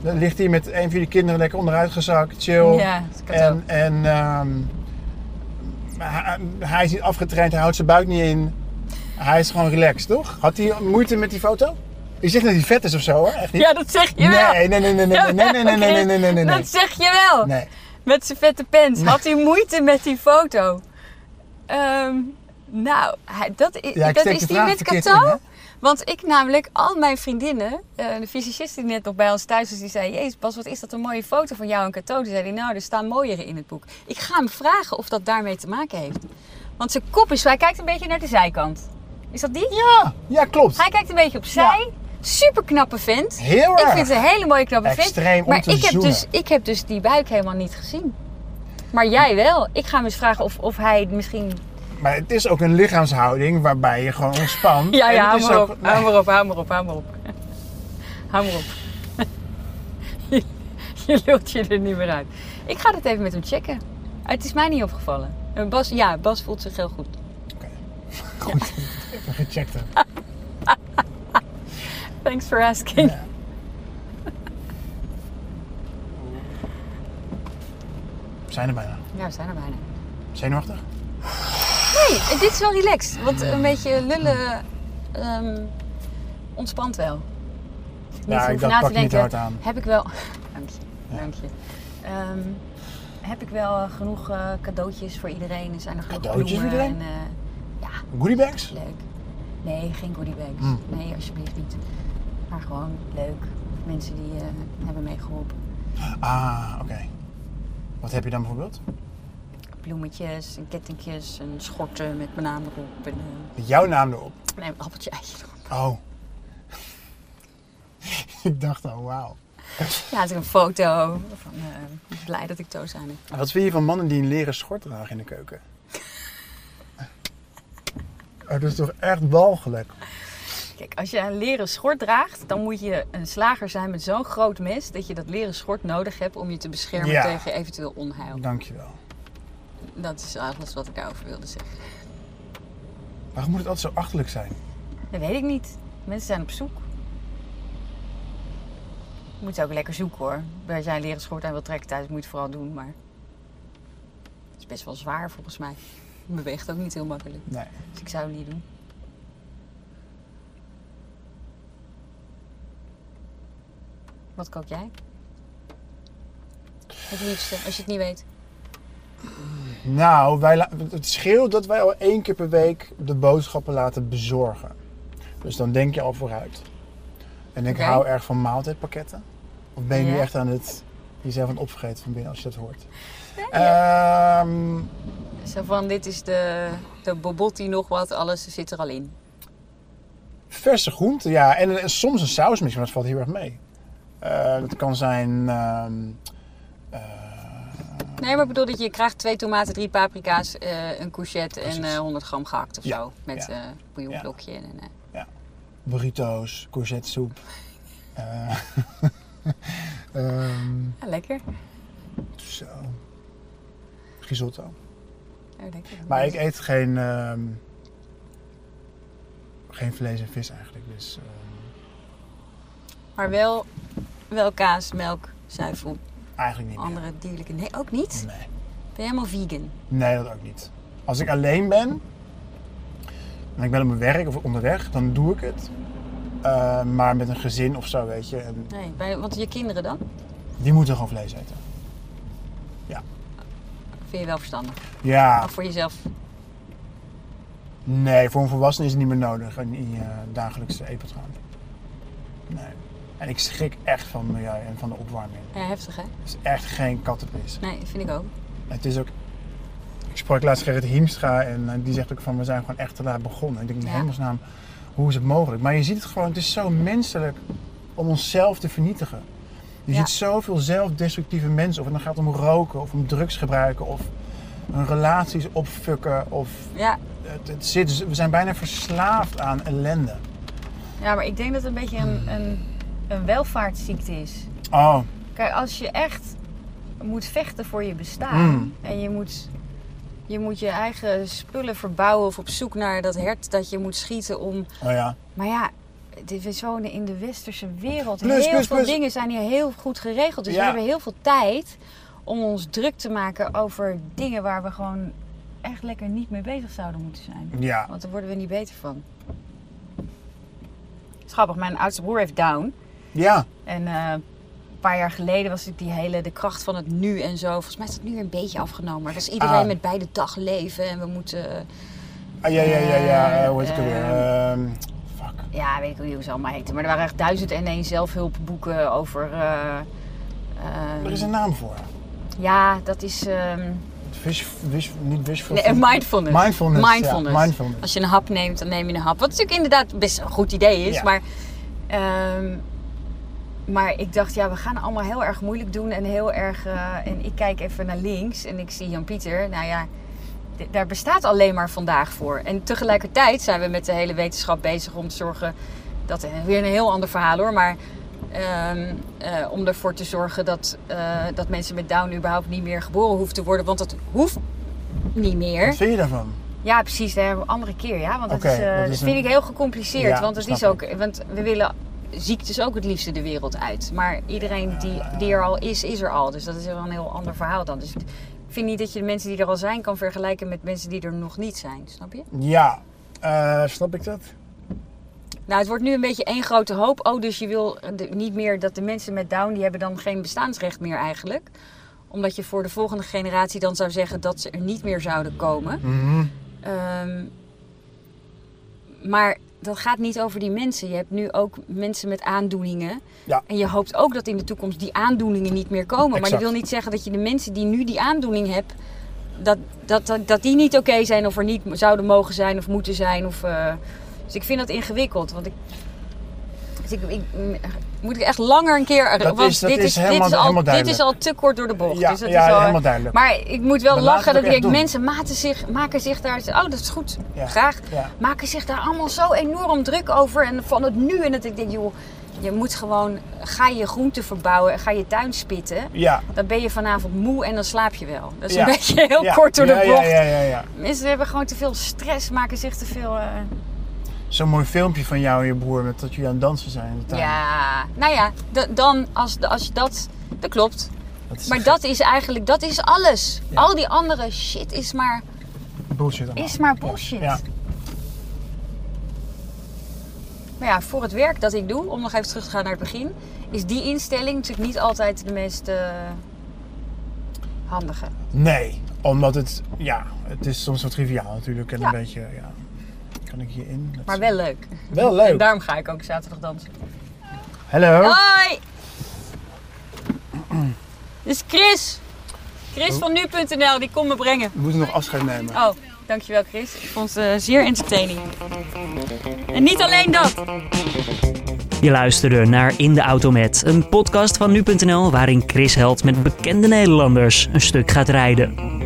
B: Dan ligt hij met een van jullie kinderen lekker onderuitgezakt, chill.
C: Ja, dat kan ook.
B: En, en ehm, hij, hij is niet afgetraind, hij houdt zijn buik niet in. Hij is gewoon relaxed, toch? Had hij moeite met die foto? Je zegt dat hij vet is of zo, hoor. Echt niet?
C: Ja, dat zeg je wel.
B: Nee, nee, nee, nee, nee, nee, nee, nee, nee, nee, nee, nee, nee, nee.
C: Dat zeg je wel.
B: Nee.
C: Met zijn vette pens. Had hij moeite met die foto? Ehm, nou, hij- dat, i-
B: Ja, ik
C: dat
B: steek
C: is
B: de
C: die
B: vraag
C: met
B: verkeerd
C: cadeau.
B: in, hè?
C: Want ik namelijk, al mijn vriendinnen, eh, de fysicist die net nog bij ons thuis was, die zei... Jezus Bas, wat is dat een mooie foto van jou en cadeau? Die zei, hij, nou, er staan mooiere in het boek. Ik ga hem vragen of dat daarmee te maken heeft. Want zijn kop is, hij kijkt een beetje naar de zijkant. Is dat die?
B: Ja, ja, klopt.
C: Hij kijkt een beetje opzij. super knappe vent.
B: Heel
C: Ik
B: erg.
C: vind het een hele mooie knappe
B: Extreem
C: vent.
B: om
C: Maar
B: te
C: ik heb,
B: zoenen.
C: dus, ik heb dus die buik helemaal niet gezien. Maar jij wel. Ik ga hem eens vragen of, of hij misschien...
B: Maar het is ook een lichaamshouding waarbij je gewoon ontspant.
C: Ja,
B: En
C: ja,
B: het
C: hou
B: is
C: maar
B: ook-
C: op. Hou maar op, hou maar op, hou maar op. Hou maar op. Je- Je lult je er niet meer uit. Ik ga dat even met hem checken. Het is mij niet opgevallen. En Bas, ja, Bas voelt zich heel goed.
B: Even gecheckt heb.
C: Thanks for asking.
B: Ja. We zijn er bijna.
C: Ja, we zijn er bijna.
B: Zenuwachtig?
C: Nee, dit is wel relaxed. Want een beetje lullen ehm, ontspant wel. Niet
B: Ja, ik
C: hoeven
B: dacht,
C: na te
B: pak niet
C: denken,
B: hard aan.
C: Heb ik wel... Dank je, dank je. Ehm, heb ik wel eh, genoeg eh, cadeautjes voor iedereen? Er zijn er genoeg
B: Cadeautjes voor
C: bloemen
B: iedereen?
C: En, eh,
B: Goodiebags?
C: leuk. Nee, geen goodiebags.
B: Hmm.
C: Nee, alsjeblieft niet. Maar gewoon leuk. Mensen die eh, hebben meegeholpen.
B: Ah, oké. Wat heb je dan bijvoorbeeld?
C: Bloemetjes en kettingjes en schorten met mijn naam erop. En, eh,
B: Met jouw naam erop.
C: nee, een appeltje eitje erop.
B: Oh. ik dacht al, wauw.
C: Ja, er een foto van eh, blij dat ik toos aan heb.
B: Wat vind je van mannen die een leren schort dragen in de keuken? Het is toch echt walgelijk?
C: Kijk, als je een leren schort draagt, dan moet je een slager zijn met zo'n groot mes dat je dat leren schort nodig hebt om je te beschermen
B: Ja.
C: tegen eventueel onheil.
B: Dankjewel.
C: Dat is alles wat ik daarover wilde zeggen.
B: Waarom moet het altijd zo achterlijk zijn?
C: Dat weet ik niet. Mensen zijn op zoek. Je moet ze ook lekker zoeken hoor. Als jij een leren schort aan wil trekken thuis, moet je het vooral doen, maar het is best wel zwaar volgens mij. Het beweegt ook niet heel makkelijk,
B: Nee.
C: dus ik zou het niet doen. Wat kook jij? Het liefste, als je het niet weet.
B: Nou, wij la- het scheelt dat wij al één keer per week de boodschappen laten bezorgen. Dus dan denk je al vooruit. En ik
C: Oké.
B: hou erg van maaltijdpakketten. Of ben je nu
C: Ja.
B: echt aan het jezelf aan het opvreten van binnen als je dat hoort? Ehm,
C: Zo van, dit is de, de bobotti nog wat, alles zit er al in.
B: verse groenten, ja. En, eh, soms een sausmix, maar dat valt heel erg mee. Eh, dat kan zijn... ehm, eh,
C: Nee, maar ik bedoel dat je krijgt twee tomaten, drie paprika's, eh, een courgette en
B: Precies.
C: eh 100 gram gehakt of
B: Ja,
C: zo. Met
B: ja.
C: eh bouillonblokje en... eh,
B: burrito's, courgettesoep. Eh, ehm,
C: ja, lekker.
B: zo. Risotto.
C: Ja, lekker.
B: Maar ik eet geen, ehm, geen vlees en vis eigenlijk. Dus, ehm,
C: Maar wel, wel kaas, melk, zuivel,
B: eigenlijk niet meer.
C: andere dierlijke... Nee, ook niet?
B: Nee.
C: Ben je helemaal vegan?
B: nee, dat ook niet. Als ik alleen ben en ik ben op mijn werk of onderweg, dan doe ik het. Eh, maar met een gezin of zo, weet je. En
C: Nee, bij, want je kinderen dan?
B: die moeten gewoon vlees eten.
C: Vind je wel verstandig.
B: Ja,
C: Maar voor jezelf...
B: nee, voor een volwassene is het niet meer nodig in in je dagelijkse eetpatroon. Nee. En ik schrik echt van het milieu en van de opwarming.
C: Ja, heftig hè?
B: Het is echt geen kattenpis.
C: Nee, vind ik ook.
B: Het is ook. Ik sprak laatst Gerrit Hiemstra en eh, die zegt ook van we zijn gewoon echt te laat begonnen. Ik denk in
C: Ja.
B: hemelsnaam, hoe is het mogelijk? Maar je ziet het gewoon, het is zo menselijk om onszelf te vernietigen. Je
C: Ja.
B: ziet zoveel zelfdestructieve mensen, of het dan gaat om roken of om drugs gebruiken of hun relaties opfukken. Of
C: Ja,
B: het, het zit, we zijn bijna verslaafd aan ellende.
C: ja maar ik denk dat het een beetje een, een, een welvaartsziekte is.
B: Oh,
C: Kijk, als je echt moet vechten voor je bestaan
B: Mm.
C: en je moet, je moet je eigen spullen verbouwen of op zoek naar dat hert dat je moet schieten om.
B: oh ja.
C: Maar ja, dit is zo in de westerse wereld.
B: Plus,
C: heel
B: plus,
C: veel
B: plus.
C: dingen zijn hier heel goed geregeld. Dus
B: Ja.
C: we hebben heel veel tijd om ons druk te maken over dingen waar we gewoon echt lekker niet mee bezig zouden moeten zijn.
B: Ja.
C: Want daar worden we niet beter van. Het is grappig, mijn oudste broer heeft down.
B: Ja.
C: En eh, een paar jaar geleden was ik die hele de kracht van het nu en zo. Volgens mij is dat nu weer een beetje afgenomen. Maar dat is iedereen
B: Ah.
C: met beide dag leven en we moeten.
B: Ah, ja, ja, ja, ja. eh, hoe heet het ook
C: Eh,
B: alweer? Ehm, fuck.
C: Ja, weet ik ook niet hoe ze allemaal heten. Maar er waren echt duizend en één zelfhulpboeken over. eh, eh,
B: Er is een naam voor.
C: ja, dat is. ehm,
B: Wish, wish, niet wishful
C: nee,
B: thinking.
C: mindfulness.
B: Mindfulness, ja,
C: Mindfulness.
B: mindfulness.
C: Als je een hap neemt, dan neem je een hap. Wat natuurlijk inderdaad best een goed idee is.
B: Ja.
C: Maar Ehm, maar ik dacht, ja, we gaan allemaal heel erg moeilijk doen en heel erg. eh, en ik kijk even naar links en ik zie Jan-Pieter. Nou ja, d- daar bestaat alleen maar vandaag voor. En tegelijkertijd zijn we met de hele wetenschap bezig om te zorgen. Dat eh, weer een heel ander verhaal hoor, maar. ehm, eh, om ervoor te zorgen dat, eh, dat mensen met Down überhaupt niet meer geboren hoeven te worden. Want dat hoeft niet meer.
B: Wat vind je daarvan?
C: Ja, precies. Daar hebben we een andere keer. Ja, want dat,
B: Oké,
C: is, eh,
B: dat is
C: dat
B: een-
C: vind ik heel gecompliceerd.
B: Ja,
C: want, het is
B: snap
C: ook, want we willen ziektes ook het liefste de wereld uit. Maar iedereen die,
B: Ja.
C: die er al is, is er al. Dus dat is wel een heel ander verhaal dan. Dus ik vind niet dat je de mensen die er al zijn kan vergelijken met mensen die er nog niet zijn. Snap je?
B: Ja, eh, snap ik dat?
C: Nou, het wordt nu een beetje één grote hoop. Oh, dus je wil de- niet meer dat de mensen met Down, die hebben dan geen bestaansrecht meer eigenlijk. Omdat je voor de volgende generatie dan zou zeggen dat ze er niet meer zouden komen.
B: Mhm.
C: Ehm, maar dat gaat niet over die mensen. Je hebt nu ook mensen met aandoeningen.
B: Ja.
C: En je hoopt ook dat in de toekomst die aandoeningen niet meer komen. Maar dat
B: Exact.
C: wil niet zeggen dat je de mensen die nu die aandoening hebben, dat, dat, dat, dat die niet oké zijn of er niet zouden mogen zijn of moeten zijn. Of, eh, dus ik vind dat ingewikkeld. Want ik, dus ik, ik- mm, moet ik echt langer een keer.
B: Dat
C: want
B: is- dat
C: dit,
B: is
C: dit,
B: helemaal-
C: is al,
B: helemaal
C: dit is
B: duidelijk.
C: al te kort door de bocht.
B: Ja,
C: dus dat
B: ja,
C: is al,
B: helemaal duidelijk.
C: Maar ik moet wel
B: Maar laat
C: lachen
B: het
C: dat
B: ook
C: ik
B: echt
C: denk,
B: doen.
C: mensen maten zich, maken zich daar. Oh, dat is goed.
B: Ja.
C: Graag
B: Ja.
C: maken zich daar allemaal zo enorm druk over. En van het nu en dat ik denk, joh, je moet gewoon, ga je groenten verbouwen, ga je tuin spitten.
B: Ja.
C: Dan ben je vanavond moe en dan slaap je wel. Dat is
B: Ja.
C: een beetje heel
B: Ja.
C: kort door
B: Ja,
C: de bocht.
B: Ja, ja, ja, ja.
C: Mensen hebben gewoon te veel stress, maken zich te veel. eh,
B: Zo'n mooi filmpje van jou en je broer met dat jullie aan het dansen zijn in de tuin.
C: Ja, nou ja, d- dan als, als je dat. Dat klopt.
B: Dat is
C: Maar
B: echt
C: dat is eigenlijk, dat is alles.
B: Ja.
C: Al die andere shit is maar,
B: bullshit allemaal.
C: is maar bullshit.
B: Ja.
C: Maar ja, voor het werk dat ik doe, om nog even terug te gaan naar het begin, is die instelling natuurlijk niet altijd de meest eh, handige.
B: Nee, omdat het, ja, het is soms wat triviaal natuurlijk en
C: Ja.
B: een beetje, ja, kan ik hierin? Dat
C: Maar
B: is-
C: wel leuk.
B: wel leuk.
C: En daarom ga ik ook zaterdag dansen.
B: Hallo.
C: Hoi! Dit is Chris. Chris van nu.nl, die komt me brengen.
B: We moeten nog afscheid nemen.
C: Oh, dankjewel Chris. Ik vond het eh, zeer entertaining. En niet alleen dat.
A: Je luisterde naar In de Auto Met, een podcast van nu.nl waarin Chris helpt met bekende Nederlanders een stuk gaat rijden.